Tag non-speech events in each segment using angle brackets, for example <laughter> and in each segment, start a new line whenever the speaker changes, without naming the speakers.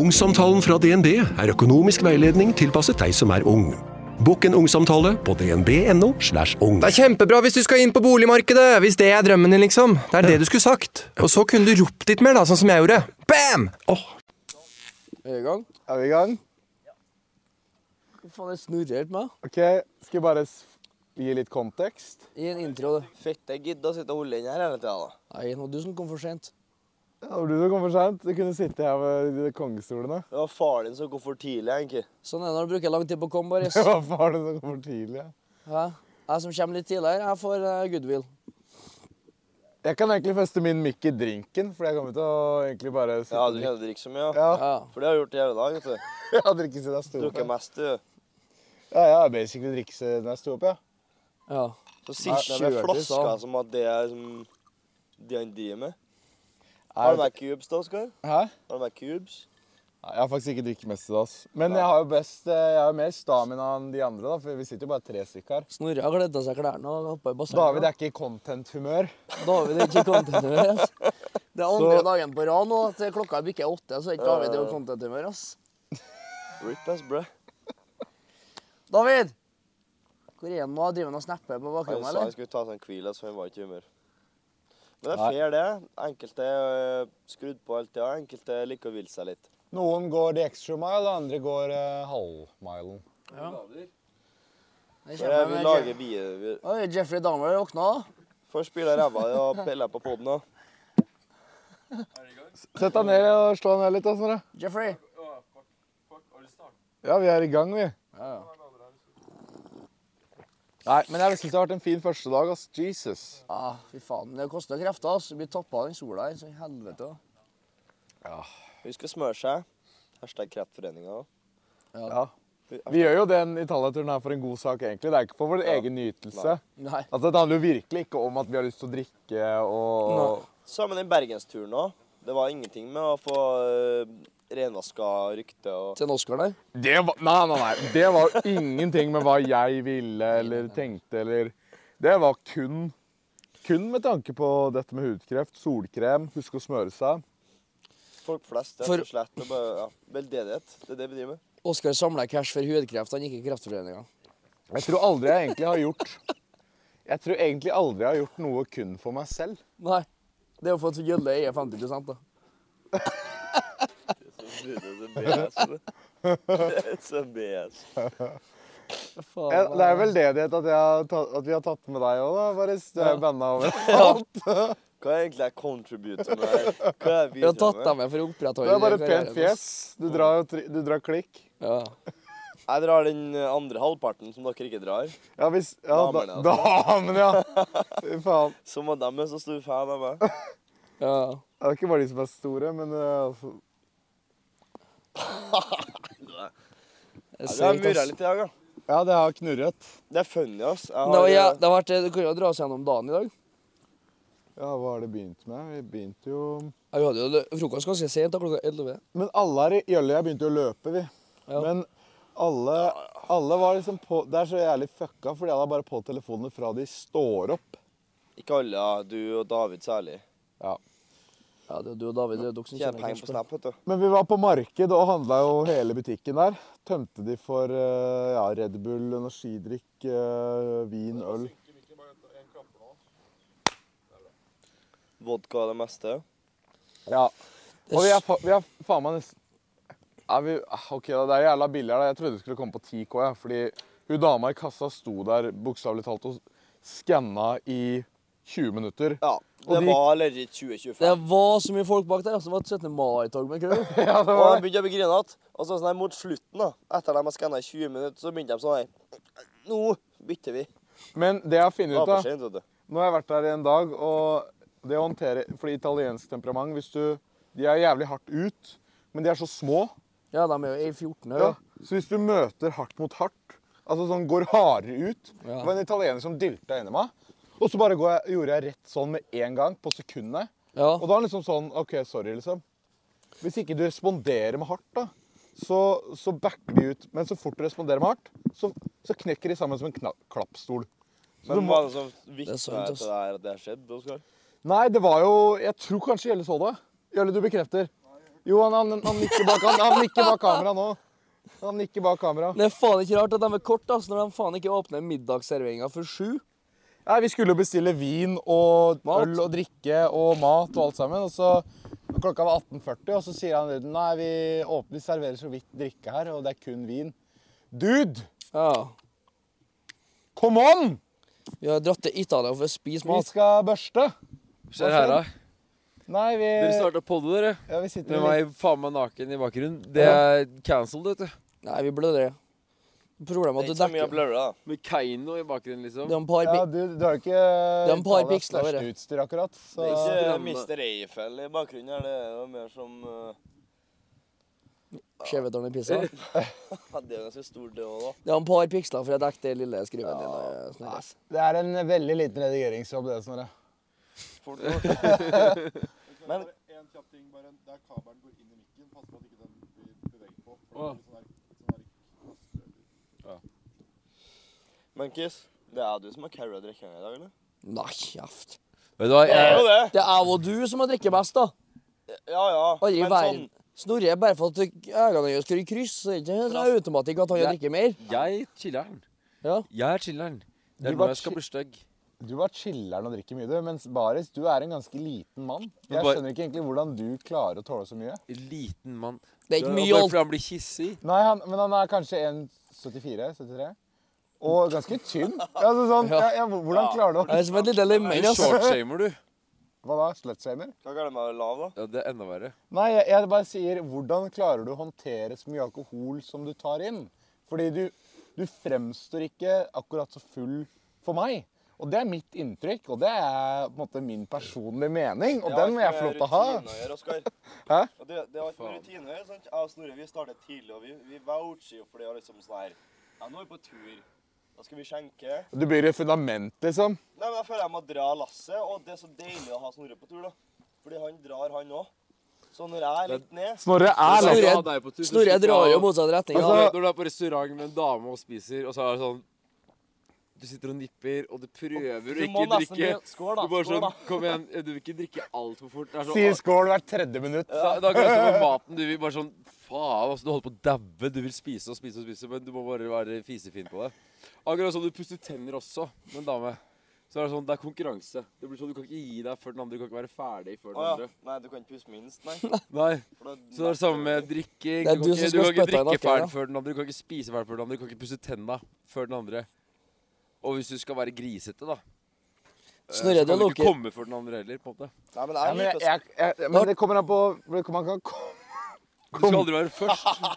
Ungsamtalen fra DNB er økonomisk veiledning tilpasset deg som er ung. Bokk en ungsamtale på dnb.no. slash ung.
Det er kjempebra hvis du skal inn på boligmarkedet! Hvis det er drømmen din, liksom. Det er det du skulle sagt. Og så kunne du ropt litt mer, da, sånn som jeg gjorde. Bam!
Er vi i gang?
Er vi i gang?
Hva faen er det snurrer helt meg?
Ok, skal jeg bare s- gi litt kontekst?
Gi en intro, du.
Fette gidda sitte og holde inn her hele tida, da.
Nei, nå er du som kom for sent.
Ja, det var du som kom for seint. Du kunne sitte her ved de <laughs> kongestolene.
Det var faren din som kom for tidlig, egentlig.
Sånn er det når du bruker lang tid på å komme,
<laughs>
Boris.
Det var faren din som kom for tidlig. ja.
Hæ? Jeg som kommer litt tidligere, jeg får eh, goodwill.
Jeg kan egentlig feste min mikk i drinken, for jeg kommer til å egentlig bare sitte
Jeg
og
hadde
drikke.
ikke drikke så mye, ja.
Ja, <laughs>
Ja.
For det har jeg gjort i hele dag, vet du.
jeg har drikket siden jeg sto opp.
Drukket
Ja,
mest, du.
ja, jeg har basically drikket siden jeg sto opp, ja.
ja.
Så
Nei,
sitter jeg
kjørte
med
i
flaska
stad.
som at det er som det han driver med. Har du med cubes, da, Oskar?
Hæ?
Har du med cubes?
Nei, Jeg har faktisk ikke drukket mest i dag. ass. Men jeg har jo best, eh, jeg har jo mer stamina enn de andre, da, for vi sitter jo bare tre stykker her.
Snorre har gleda seg i klærne og hoppa
Sånn,
i bassenget.
David er ikke i content-humør.
David er ikke content-humør. ass. Det er andre
Så- Eh.
dagen på rad nå at klokka bikker åtte, så er ikke David i content-humør. ass.
Rip ass, brø.
David! Hvor er han nå? Driver han og snapper på
Han
bakrommet,
sa han
eller?
skulle ta seg en hvil, så han var ikke i humør. Men det
Nei.
er fair, det. Enkelte er skrudd på hele tida. Enkelte liker å hvile seg litt.
Noen går the extra mile, andre går uh, halvmilen.
Det
Så jeg
kommer
vil
med-
lage videre.
Oi, Jeffrey Dahmer våkna.
Først spiller jeg ræva i og peller på poden, da.
Sett deg ned og slå deg ned litt, da, Snorre.
Jeffrey.
Ja, vi er i gang, vi. Nei, men jeg syns det har vært en fin første dag. ass. Jesus.
Ja, fy faen. Det koster krefter. ass. Du blir tappa av den sola her, så i helvete. da.
Husk å smøre seg. Hashtag Kreftforeninga.
Ja. Vi gjør jo den Italia-turen her for en god sak, egentlig. Det er ikke for vår egen nytelse.
Nei.
Altså, Det handler jo virkelig ikke om at vi har lyst til å drikke og
Sammen den bergensturen òg. Det var ingenting med å få uh, renvaska rykte og
Til en Oscar der.
det var, Nei, nei, nei. Det var jo ingenting med hva jeg ville eller tenkte eller Det var kun kun med tanke på dette med hudkreft, solkrem, huske å smøre seg.
folk flest. Rett
For-
og slett. Og bare, ja, veldedighet. Det er det vi driver med.
Oskar samler cash for hudkreft, han gikk i Kreftforeninga.
Jeg tror aldri jeg egentlig har gjort Jeg tror egentlig aldri jeg har gjort noe kun for meg selv.
Nei. Det å få et gjølle eier 50 da.
<laughs> Så BS.
Jeg, det er veldedighet at, jeg har tatt, at vi har tatt med deg òg, da. Bare du er banna over.
Hva er egentlig jeg contributer med her? Hva er jeg
Vi har tatt
bidrar
deg
med?
med for å opprettholde
Det er bare et
din
pent
karriere,
fjes. Du drar, jo tri- du drar klikk.
Ja.
Jeg drar den eh, andre halvparten som dere ikke drar.
Ja, hvis ja, da,
Damene,
Damene, ja! Fy faen.
Så må de være så stor fan av
<laughs>
meg.
ja.
Det er ikke bare de som er store, men eh, altså
Jeg
Jeg
ser
har
ikke,
murra
ass.
litt i dag, da.
Ja, det har knurret.
Det er funny, ass. Jeg
Nå,
har,
ja,
eh,
det har vært, du kunne jo dra oss gjennom dagen i dag.
Ja, hva har det begynt med? Vi begynte jo
Ja, vi hadde jo lø- frokost ganske sent, da, klokka 11.
Men alle her i Jølle og jeg begynte jo å løpe, vi.
Ja.
Men alle, alle var liksom på Det er så jævlig fucka, fordi alle er bare på telefonene fra de står opp.
Ikke alle, ja. du og David særlig.
Ja, det er du og David det er dere som
Tjener penger på
cash.
Snap, vet du.
Men vi var på marked og handla jo hele butikken der. Tømte de for eh, ja, Red Bull, energidrikk, eh, vin, øl.
Vodka og det meste.
Ja. Og vi er, fa- vi er faen meg nesten er vi, ah, OK, da, det er jævla billig her. da. Jeg trodde det skulle komme på 10K, ja, fordi hun dama i kassa sto der bokstavelig talt og skanna i 20 minutter.
Ja.
Og
Det
de-
var legit 2025.
Det var så mye folk bak der. Altså, det var et 17. mai-tog med kø.
Ja, det
Og
var
de begynte å bli grinete. Og så sånn her mot slutten, da, etter de har skanna i 20 minutter, så begynte de sånn her Nå bytter vi.
Men det jeg har
Det
funnet
var
ut
for
av
sent, vet du.
Nå har jeg vært der i en dag, og det å håndtere Fordi italiensk temperament hvis du, De er jævlig hardt ut, men de er så små.
Ja, de er jo i 14 her,
Ja.
da.
Så hvis du møter hardt mot hardt, altså sånn går hardere ut
Ja.
Det var en italiener som dylta inni meg. Og så bare går jeg, gjorde jeg rett sånn med en gang, på sekundet.
Ja.
Og da er han liksom sånn OK, sorry, liksom. Hvis ikke du responderer med hardt, da, så, så backer de ut. Men så fort du responderer med hardt, så, så knekker de sammen som en kna klappstol. Så du
Men
må-
var det som
Det er
vitne
sant,
til
ass.
det her at det har skjedd, Oskar?
Nei, det var jo Jeg tror kanskje Gjelle så det. Gjelle, du bekrefter. Jo, han, han, han, nikker bak, han, han nikker bak kamera nå. Han nikker bak kamera.
Det er faen ikke rart at de er kort, altså, når de faen ikke åpner middagsserveringa før sju.
Nei, Vi skulle jo bestille vin og
Mat.
øl og drikke og mat og alt sammen. Og så Klokka var 18.40, og så sier han nei, vi, åpner, vi serverer så vidt drikke her, og det er kun vin. Dude,
Ja.
come on!
Vi har dratt til Italia for å spise
Vi
mat.
skal børste.
Skjer her, da?
Nei, vi,
Dere starta podd, dere.
ja, vi sitter
Med
i-
meg faen meg naken i bakgrunnen. Det er cancelled, vet du.
Nei, vi blødde det. Problemet er
Det er
at du
ikke så mye å
dekker
blurre, da.
Med Keino i bakgrunnen, liksom.
Det er en par
Ja,
bi...
du, du har jo ikke
Det er en par
Italias
piksler,
største
bare.
utstyr akkurat. Så
Det er
ja,
ikke
Stranda.
Mr. Eiffel i bakgrunnen her, det er jo mer som eh,
Skjevhetene i pizza.
ja, Det er jo ganske stor det òg, da.
Det er en par piksler for å dekke det lille skriven din. eh, Snorres.
det er en veldig liten redigeringsjobb, det, Snorre.
Fort gjort. Men
En kjapp ting, bare der kabelen går inn i mikken, pass på at ikke den blir beveget på.
Å.
for det blir sånn der- sånn der-
Men Kiss, det er du som har carried drikkinga i dag, eller?
Nei, kjeft.
Vet du
Eh.
hva,
Det er jo
jeg,
det.
Det er jeg og du som har drukket mest, da.
Ja, ja.
Aldri i
Men
verden.
sånn,
Snorre, bare for at øynene hans skal i kryss, så er det ikke sånn automatikk at han
Ja.
drikker mer.
jeg er chiller'n.
Ja.
Jeg er chiller'n. Det
Du
er
bare
nå jeg skal bli stygg.
Du bare chiller'n og drikker mye, du. Mens Baris, du er en ganske liten mann. Jeg
bare-
skjønner ikke egentlig hvordan du klarer å tåle så mye.
Liten mann.
Det er ikke
Og
mye
bare
alt.
fordi han blir hissig.
Nei, han, men han er kanskje 1,74-73. Og ganske tynn. Altså sånn, ja, ja, hvordan klarer du å
Jeg er som et lite lemen,
Du
altså.
shortshamer, du.
Hva da? Slutshamer?
Hva kaller du meg lav, da?
Ja, det er enda verre.
Nei, jeg, jeg bare sier hvordan klarer du å håndtere så mye alkohol som du tar inn? Fordi du, du fremstår ikke akkurat så full for meg. Og det er mitt inntrykk, og det er på en måte min personlige mening. Og
Det altså. har
den må jeg
ikke
få lov
med
til å ha.
rutine å gjøre, Oskar.
<laughs> Hæ?
Og det, det har ikke med rutine å gjøre. sant? Jeg og Snorre vi starter tidlig, og vi, vi voucher jo for det. og liksom sånn her. Ja, nå er vi på tur. Da skal vi skjenke.
Du blir et fundament, liksom.
Nei, men Jeg føler jeg må dra lasset, og det er så deilig å ha Snorre på tur. da. Fordi han drar, han òg. Så når jeg er litt ned
Snorre er
Snorre-
litt
Jeg skal ha deg på tur, så
Snorre
slipper jeg
drar jo
å-
motsatt retning.
Ja,
da.
Når du er på restaurant med en dame og spiser, og så er det sånn Du sitter og nipper, og du prøver å
Du må
ikke
nesten
drikke.
bli- Skål, da.
Du bare
Skål,
sånn
da.
Kom igjen, du vil ikke drikke altfor fort.
altså,
Det er
Sier
sånn,
skål hvert tredje minutt.
da, da kan du
<laughs>
stå på maten. Du vil bare sånn Faen, altså, du holder på å daue. Du vil spise og spise og spise, men du må bare være fisefin på det. Akkurat sånn du puster tenner også med en dame. Så er det sånn, det er konkurranse. Det blir sånn, Du kan ikke gi deg før den andre. Du kan ikke være ferdig
Å
før den
ja.
andre.
Nei, du kan ikke puste minst,
<laughs>
nei.
Nei.
For da-
Så det er det samme med drikking.
Det er du
Du kan
som
ikke, du
skal
kan ikke
spytte deg i
drikke
nakken,
ferdig
da.
før den andre, du kan ikke spise ferdig før den andre, du kan ikke pusse tenna før den andre. Og hvis du skal være grisete, da, eh,
Snorre, det
så kan du ikke
lukker.
komme før den andre heller. på en måte.
Nei, men
Ja,
jeg
men, jeg,
liker å
jeg, jeg, men det kommer an på Man kan
Du skal aldri
<laughs>
være først.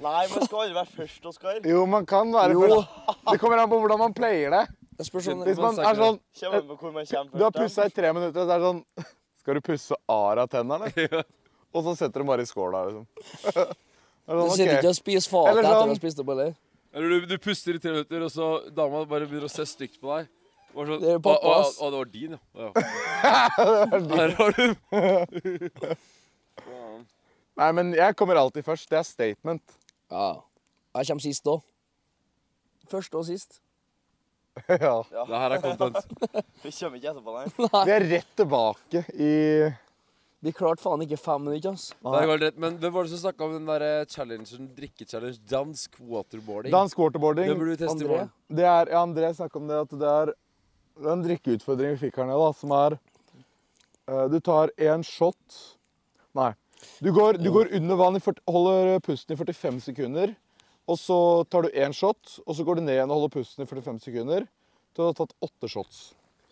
Nei, men skal aldri være først, Oskar.
Jo, man kan være
Jo.
først. Det kommer an på hvordan man player det.
Det spørs om
Hvis
Man
man
sa
er
ikke
sånn
Kommer an på hvor man kommer
Du
først.
har
da.
pussa i tre minutter, så er det sånn Skal du pusse ar av tennene?
<laughs>
Og så setter du bare i skåla, liksom. <laughs> Det er
Du
sånn,
sitter
ok.
ikke og spiser fatet
Eller
etter at du
sånn-
har spist opp, eller?
Eller du, du puster i tre minutter, og så dama bare begynner å se stygt på deg. Bare sånn,
Det er
å,
pappa,
å,
ass.
å, det var din, ja. Å, ja.
<laughs>
Her har du
Nei, men jeg kommer alltid først. Det er
<laughs>
statement.
Ja. Jeg kommer sist òg. Først og sist.
Ja.
Det her er
<laughs>
content.
Vi kommer ikke etterpå, nei.
Vi er rett tilbake i
Vi klarte faen ikke fem minutter, ass.
Det er helt rett. Men hvem var det som snakka om den der eh, challengen, drikke-challenge, dansk waterboarding?
dansk
Det
waterboarding.
burde du teste i
André?
morgen.
Det er, ja, André snakka om det, at det er det er en drikkeutfordring vi fikk her nede, da, som er eh, Du tar én shot Nei. Du går, du går under vann, i 40, holder pusten i 45 sekunder. Og så tar du én shot, og så går du ned igjen og holder pusten i 45 sekunder. Du har tatt åtte shots.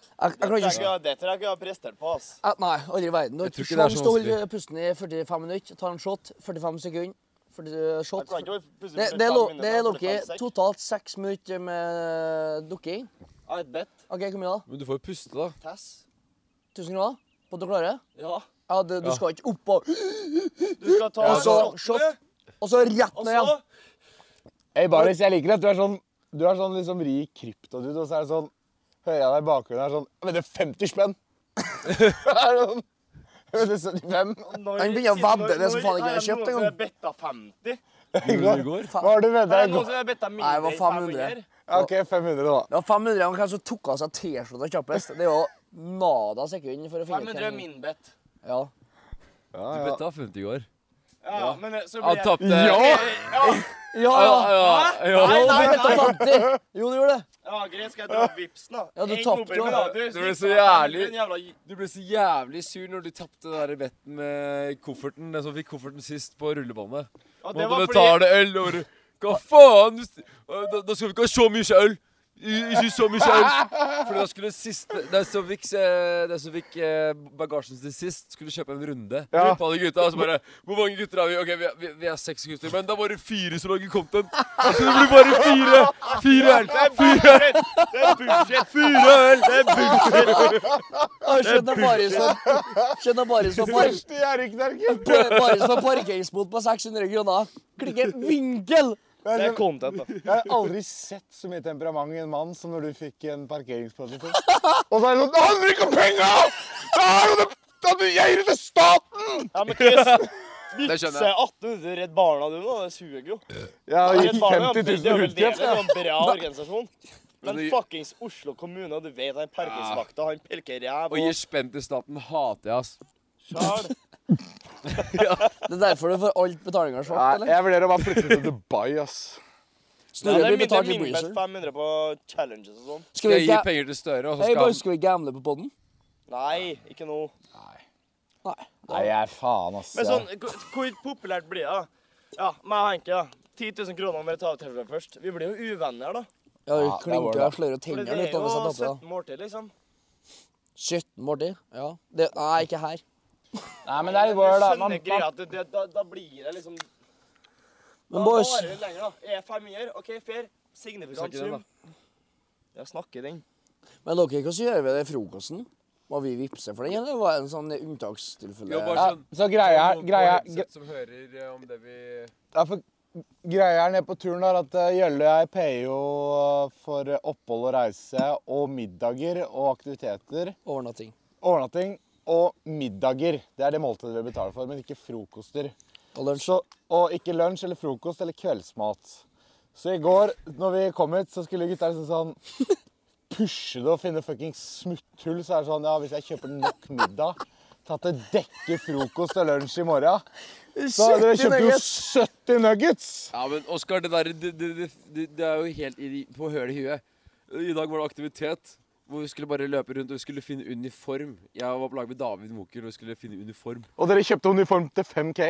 Jeg, jeg kan
Det
ikke
tror jeg ikke jeg har prestert på, ass.
Eh, Nei, aldri i verden. Du har ikke
Jeg tror ikke det er
sjans
så
til
sånn
å holde pusten i 45 minutter. Ta en shot, 45 sekunder. 40
Jeg
shot.
kan ikke holde pusten
Det,
for
det,
fem
lå-
minutter,
det
jeg har
lukket
45 sek.
totalt seks minutter med dukking.
Jeg har et bett.
OK, hvor mye da?
Men du får jo puste, da.
Tess.
1000 kroner? På at du klarer?
Ja.
Ja, det, du skal ikke opp og
Du skal ta
Og så
shottene,
shot. Og så rett
Og
ned
så
igjen.
Hey, Baris, jeg liker at du er sånn Du er sånn liksom rik kryptodude, og så er det sånn Hører jeg deg i bakgrunnen her sånn Men det er 50 spenn! <laughs> Det er sånn, «Men det er 75.
når-
Han begynner å vedde det som
når-
faen ikke jeg
er det
kjøpte
noen
engang.
som er betta 50.
Gjorde du det i går?
Hva har du med
Er det
deg? i
noen
går?
som er betta mindre
Nei, det var
enn
500.
OK, 500, da.
Det var 500 av hvem som tok av seg T-skjorta kjappest. Det er jo nada sekund for å finne ut
500 er
hvem-
min bett.
Ja.
Du betta 50 i går.
Ja, men eh, så blir
Han
jeg
tapte
Ja,
Ja,
ja.
ja, ja.
Nei, nei, dette tapte jeg. Jo, du gjorde det.
Ja, greit, skal jeg dra vipsen, da?
Ja, du
En
tapte
nobel
jo.
med da,
Det ble
Stikk,
så
da.
jævlig.
Den jævla gi-
Du ble så jævlig sur når du tapte den der betten med kofferten. Den som fikk kofferten sist på rullebandet.
Ja,
Måtte
det var fordi
betale øl. Og du, hva faen? Du- Da, da skal vi ikke ha så mye øl! I- Ikke så mye øl! For da skulle siste Den som fikk, eh, den som fikk eh, bagasjen til sist, skulle kjøpe en runde.
Ja.
Gruppa av de gutta, og så bare Hvor mange gutter er vi? Ok, vi er, vi, vi er seks gutter. Men det er bare fire som lager content. Så det blir bare fire! Fire øl! Fire øl!
Det er bullshit!
Fire øl!
Jeg skjønner bare som Skjønner bare som par-
Første gjerrigknerken!
Bare som parkeringsbot på 600 kroner. Klikke vinkel!
Jeg
Det
har
er content, da.
jeg har aldri sett så mye temperament i en mann som når du fikk en parkeringsposisjon. Og så er det sånn Det handler ikke om penga! Det er jo det at du gir det til staten!
<laughs>
Ja, men Chris,
Det skjønner
se
jeg.
1800 Redd Barna du nå, det suger jo.
Jeg
Redd
gikk
Barna
50 000
det er vel det,
utgift.
det er jo en bra organisasjon. Men
Men det-
fuckings Oslo kommune, og du vet han parkeringsvakta, han pilker ræv
Å
og
gi spenn til staten hater jeg, ass.
sjæl.
Det er derfor du får alt betalinga
Nei,
svart, eller?
jeg vurderer å bare flytte til Dubai, ass.
Ja, det
Snorre
er
blir
min- det er
betalt i
min best
Breezer.
500 på challenges og sånn.
Skal
Skal
vi,
jeg gi
ga
penger til Støre, og så
Hei,
skal
boy,
han
skal vi gamble på podden?
Nei, ikke nå.
<laughs> Nei, jeg er faen, ass.
Men sånn, hvor hvor populært blir det? da? Ja, meg og Henke, da. 10 000 kroner om vi tar T-skjorta først. Vi blir jo uvenner, da.
Ja,
Ja,
vi
der var
klinker
det.
og slører
For
tennene
det er
litt. sånn, altså. da,
jo
hvis jeg tapper,
17 måltid, liksom.
da. 17 måltid? Ja. Det, nei, ikke her.
Nei, men det er
Du
litt word, da. Man,
skjønner greia at det- det- da, da blir det liksom Da
Men boys,
varer det lenger, da. Er 500, OK, fair. Signifikant
Snakker den, da.
sum. Ja, snakker den.
men dere, hva gjør vi med den frokosten? Må vi vippse for den, eller var det en sånn unntakstilfelle?
Jo, bare
ja,
sånn
så greia er greia,
Noen på
gre-
headset som hører eh, om det vi
Ja, for greia her nede på turen er at eh, Gjølle og jeg payer jo eh, for eh, opphold og reise og middager og aktiviteter.
Overnatting.
Overnatting og middager. Det er det måltidet vi betaler for, men ikke frokoster.
Og lunsj.
Så, og ikke lunsj eller frokost eller kveldsmat. Så i går, når vi kom hit, så skulle gutta liksom sånn pushe det og finne fuckings smutthull. Så er det sånn, ja, hvis jeg kjøper nok middag til at det dekker frokost og lunsj i morgen Så
70
dere kjøpte jo
nuggets.
70 nuggets!
Ja, men Oskar, det der det, det, det, det, det er jo helt i, på hølet i huet. I dag var det aktivitet hvor vi skulle bare løpe rundt og vi skulle finne uniform. Jeg var på lag med David Moker og vi skulle finne uniform.
Og dere kjøpte uniform til 5K.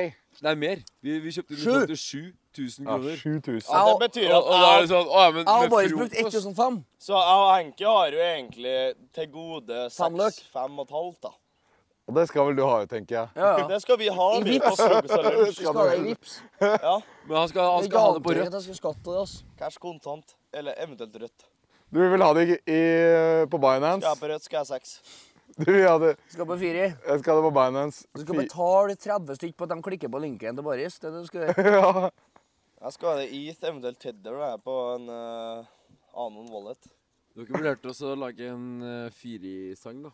Nei, mer. Vi, vi kjøpte uniform til 7000
Ja,
kroner.
7000.
Det
Jeg
betyr
Og,
at
og da er
jeg,
det sånn Å ja, men
har
med
bare brukt
frokost
1005.
Så jeg og Henke har jo egentlig til gode
Fem løk.
seks, fem og et halvt, da.
Og det skal vel du ha, tenker jeg.
Ja, ja.
Det skal vi ha.
I
Vi
vips.
på frokost og
<laughs>
lunsj.
Skal ha i vips.
Ja.
Men han skal, han
Jeg
skal ha
antar
det på
ikke
rødt.
at jeg skal skatte det, ass.
Cash kontant. Eller eventuelt rødt.
Du vil ha det i, i- på
Skal jeg
Binance?
på rødt, skal jeg ha seks.
Du vil ha det,
Skal på fire.
jeg skal ha det på Binance.
Du skal betale 30 stykk på at de klikker på linken til Baris. Det er det du skal gjøre.
Ja.
Jeg skal ha det ETH, eventuelt Tether, da, jeg, på en uh, annen wallet.
Dere burde hørt oss å lage en eh, Firi-sang, da.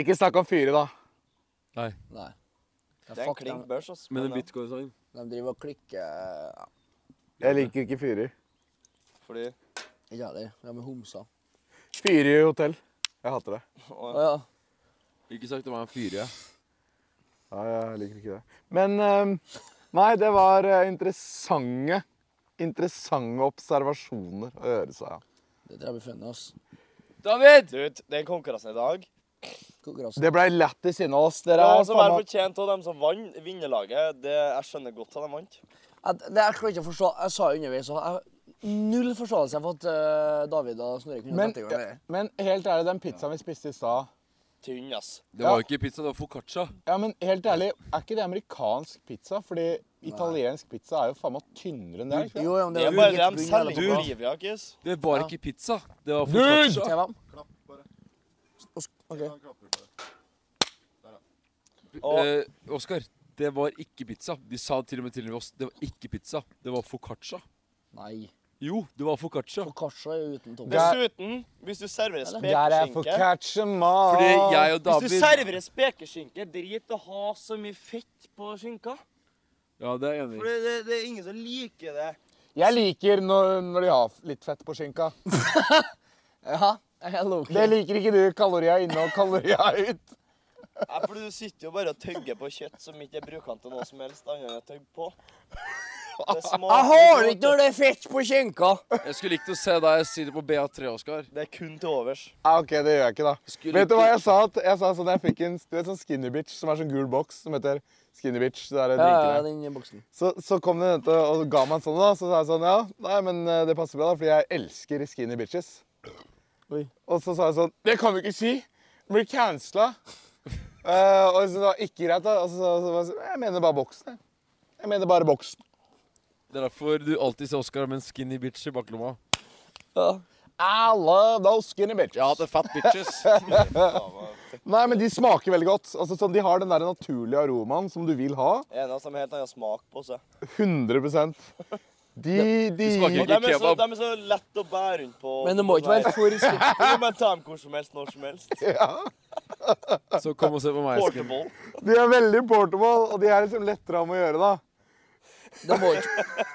Ikke snakk om fyre, da.
Nei. Ja,
Det er en
fuck,
klink
de,
børs, ass.
Med en
men, eh, ja,
bitcoin-sang.
de driver og klikker ja,
Jeg liker ikke fyrer.
Fordi
Ikke jeg heller. De er homser.
Fyre i hotell. Jeg hater det.
Å ja.
Ikke sagt det var en fyre, jeg.
Ja, jeg liker ikke det. Men ehm, Nei, det var eh, interessante Interessante observasjoner å gjøre seg av.
Det tror jeg blir funnet, ass.
David!
Dude, den konkurransen i dag
Konkurransen.
Det blei lættis inne hos dere.
Det
er
var som
faen
er
meg-
fortjent av dem som vant vinnerlaget. Det, jeg skjønner godt at de vant.
Jeg, det, jeg klarer ikke å forstå Jeg sa jo underveis og jeg null forståelse for at eh, David og Snorre kunne
men,
tatt i gang det.
men helt ærlig, den pizzaen vi spiste i stad
Tynn, ass.
Det var jo ikke pizza, det var foccaccia.
Ja, men helt ærlig, er ikke det amerikansk pizza? Fordi italiensk pizza er jo faen meg tynnere enn det. er ikke det?
Jo, ja, men
Det
det
er
er
bare det
eget
de
bunn
selger
hele
på
tiden.
Olivia, Kiss.
Det var ikke pizza, det var
Til
foccaccia.
hvem? Os- ok.
Og
Eh, Oskar, det var ikke pizza. De sa til og med til oss det var ikke pizza, det var foccaccia.
Nei.
Jo, det var foccaccia.
Foccaccia er jo uten tomat.
Der-
dessuten, hvis du serverer
Der er for
spekeskinke
catch and ma.
Fordi jeg og
Hvis du
David
serverer spekeskinke, drit i å ha så mye fett på skinka.
Ja, det er jeg enig
For
i.
det, det, det er ingen som liker det.
Jeg liker når, når de har litt fett på skinka.
Ja, jeg er low-key.
Det liker ikke du. Kalorier inne og kalorier ut.
Nei, for du sitter jo bare og tygger på kjøtt som ikke er brukende til noe som helst annet enn å tygge på. Det smaker
Jeg har
godt.
ikke når det er fett på kjenka!
Jeg skulle likt å se deg si det på BA3, Oskar.
Det er kun til overs.
Ja, ok, det gjør jeg ikke, da.
Skulle
Vet du
ikke-
hva jeg sa? at- Jeg sa sånn, jeg fikk en du vet, sånn skinny bitch som er sånn gul boks som heter skinny bitch. Det er
Ja,
drinkene.
ja, den boksen.
Så, så kom det en jente og ga meg en sånn, da. Så sa jeg sånn Ja, nei, men eh, det passer bra, da, fordi jeg elsker skinny bitches.
Oi.
Og så sa jeg sånn Det kan du ikke si! Du blir cancela. Eh, og så sa jeg, ikke greit, da. Og så sa så, var jeg sånn, Jeg mener bare boksen, jeg. Jeg mener bare boksen.
Det er derfor du alltid ser Oskar med en skinny bitch i baklomma.
I love those skinny bitches.
Ja, det er fat bitches.
Nei, men de smaker veldig godt. Altså, sånn, de har den der naturlige aromaen som du vil ha.
Det er en av oss som har helt annen smak på seg.
100 De, de
smaker
Og
ikke
de er, så,
kebab.
de er så lett å bære rundt på.
Men det må ikke være for skikkelig.
Du kan ta dem hvor som helst, når som helst.
Så kom og se på meg. Skinny.
Portable.
De er veldig portable, og de er liksom lettere om å gjøre, da.
Det må ikke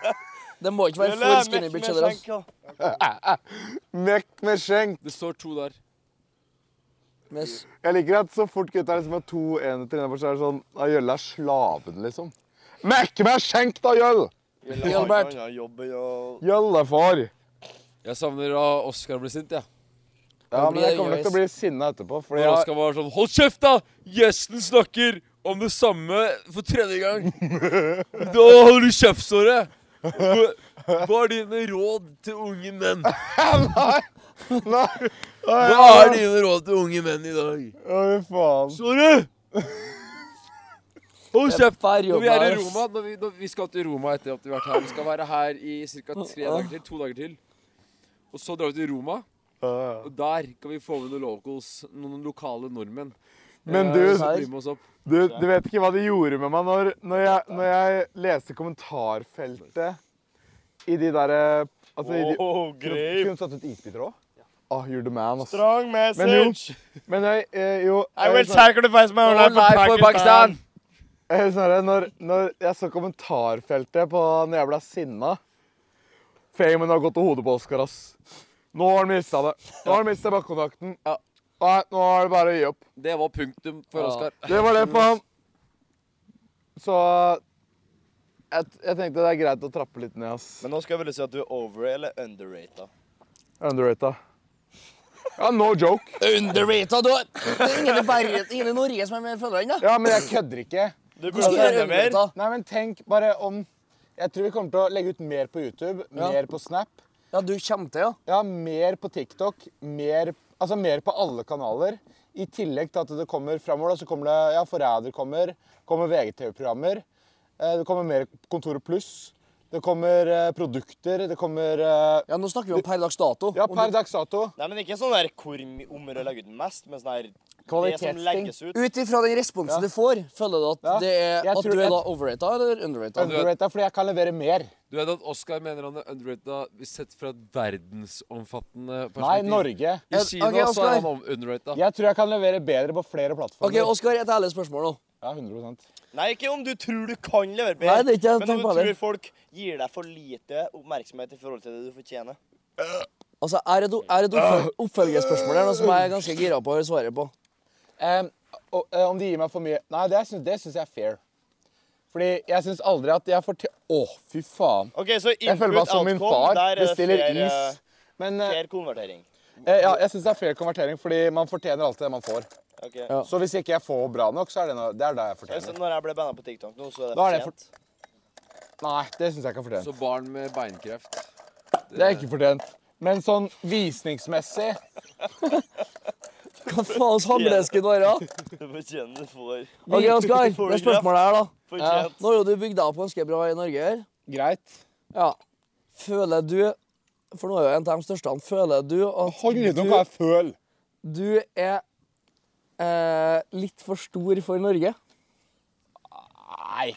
Det må
<laughs>
ikke være
Eller
for
mekk
skinny
med
bitch. eller, ass.
skjenk, da.
Mekk med skjenk.
Det står to der.
Men s-
Jeg liker at så fort gutta liksom har to enheter innafor, så er det sånn Da Jølle er slaven, liksom. Mekk meg skjenk, da, Jøll!
Eller har
Gilbert.
ikke annen jobb enn å-
Jølle, far.
Jeg savner da Oskar ble sint, jeg. Ja.
Ja, men
blir
jeg
det
kommer nok til å bli sinna etterpå. Fordi
Når
jeg,
Oskar var sånn Hold kjeft, da! Gjesten snakker om det samme for tredje gang. Da holder du kjeftsåret. Hva er dine råd til unge menn?
nei!
Hva er dine råd til unge menn i dag?
Å, fy faen.
Sorry! Hold
Det er
kjeft!
bare
Når vi er i
jobba, ass.
Roma, når vi, når vi skal til Roma etter at vi har vært her Vi skal være her i ca. tre dager til. To dager til. Og så drar vi til Roma,
Ja, ja.
og der kan vi få med noen locals. Noen lokale nordmenn.
Men
eh,
du-
som blir med oss opp.
Du, du vet ikke hva det gjorde med meg når, når, jeg, når jeg leste kommentarfeltet i de derre Altså, i de,
Oh,
kunne
greit.
kunne du satt ut isbiter òg? Ah, you're the man, ass.
Strong
Men jo,
message.
men jeg, eh, jo
I
jeg-
will sacrifice my life for Pakistan.
Jeg husker det, når, når jeg så kommentarfeltet på når jeg ble sinna Famen har gått til hodet på Oskar, ass. Nå har han mista det. Nå har han mista bakkontakten.
Ja.
Nei, nå er det bare å gi opp.
Det var punktum for Oskar.
Det var det for ham. Så jeg, jeg tenkte det er greit å trappe litt ned, ass.
Men nå skal jeg vel si at du er over- eller underrated.
Underrata. Ja, no joke.
Underrated, du! Det er ingen i, Bergen, ingen i Norge som er mer følgere enn deg.
Ja, men jeg kødder ikke.
Du
Du skal
burde
være
enda mer.
underrated.
Nei, men tenk bare om Jeg tror vi kommer til å legge ut mer på YouTube,
Ja.
mer på Snap.
Ja, du kommer til, ja.
Ja, mer på TikTok, mer, altså mer på alle kanaler. I tillegg til at det kommer framover, da, så kommer det ja, Forræder kommer, kommer VGTV-programmer. eh, Det kommer mer Kontoret Pluss. Det kommer eh, produkter. Det kommer eh,
Ja, Nå snakker vi om per dags dato.
Ja,
Om
per
du-
dags dato.
Nei, men ikke sånn der hvor my- om å legge ut mest, men sånn der det som
Kvalitetsting.
legges ut.
Ut ifra den responsen du får, føler du at,
Ja,
det er, at
jeg tror
du er
at-
da overrated eller underrated?
Underrated, fordi jeg kan levere mer.
Du vet at Oskar mener han er underrated sett fra et verdensomfattende
Nei,
perspektiv.
Norge.
I Kina
Ok,
så er
Oskar.
han om- underrated.
Jeg tror jeg kan levere bedre på flere
OK,
plattformer.
Oskar, et ærlig spørsmål nå.
Ja, 100
Nei, ikke om du tror du kan levere bedre,
Nei, det er ikke jeg
men
tenker
om
på
du
heller.
tror folk gir deg for lite oppmerksomhet i forhold til det du fortjener.
Altså, Er det, do- er det do- oppfølgerspørsmål her nå som jeg er ganske gira på å svare på?
Em, og, eh, om de gir meg for mye Nei, det syns det syns jeg er fair. Fordi jeg syns aldri at jeg får til Å, fy faen.
Ok, så input,
Jeg føler meg som min
outcome,
far.
der er det
Bestiller
fair, eh,
is. Men eh,
Fair konvertering.
eh, ja, jeg syns det er fair konvertering, fordi man fortjener alltid det man får.
Ok.
Så hvis ikke jeg får bra nok, så er det noe, det er det jeg
Så
fortjener.
når jeg ble banna på TikTok nå, så er det
Da er det
fortjent.
Nei, det syns jeg ikke er
Så
fortjent.
barn med beinkreft.
Det er ikke fortjent. Men sånn visningsmessig
Hva faens hamlesken var da?
<laughs> Du fortjener det for.
Ok, Oskar,
Får
det
du
er spørsmålet her, da.
Fortjent.
Nå er jo du bygd deg opp ganske bra i Norge her.
greit.
Ja. Føler du For nå er jo en av de største. han. Føler du at
Hold litt om
du,
hva jeg føler.
du er eh, litt for stor for Norge?
Nei.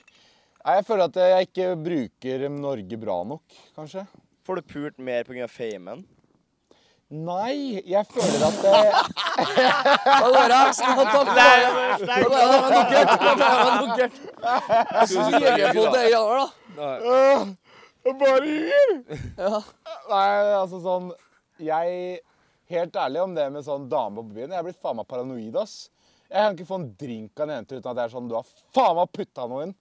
Nei, Jeg føler at jeg ikke bruker Norge bra nok, kanskje.
Får du pult mer pga. famen?
Nei, jeg føler at eh,
Da går jeg. Skal jeg ta Nei, da går jeg med dukkert. Da går jeg med dukkert.
Tusen takk,
Svinger på
Jørgen,
det
da.
i januar, da.
<laughs> Jeg bare hyler!
Ja.
Nei, altså sånn Jeg Helt ærlig om det med sånn dame på byen. Jeg er blitt faen meg paranoid, ass. Jeg kan ikke få en drink av en jente uten at jeg er sånn Du har faen meg putta noe inn!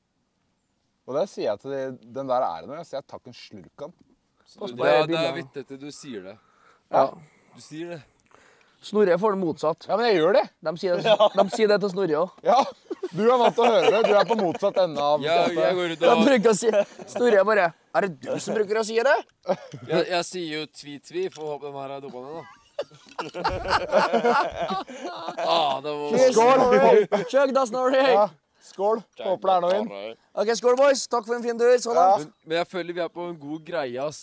Og der sier jeg til de, den der er det noe. Jeg sier jeg tar ikke en slurk av den.
Du, det, er- det er vittig at du sier det.
Ja.
Du sier det.
Snorre får det motsatt.
Ja, men jeg gjør det!
De sier det, de sier det til Snorre òg.
Ja! Du er vant til å høre det. Du er på motsatt ende av
Jeg, jeg går ut
Han
og
bruker å si Snorre bare Er det du som bruker å si det?
Jeg, jeg sier jo tvi-tvi, for å håpe den her er dumma ned, da. ah, det var
Skål!
Chug da, Snorre.
Ja. Skål! Håper det er noe inn.
OK, skål, boys. Takk for en fin tur. Sånn, Så langt.
men, men jeg føler vi er på en god greie, ass.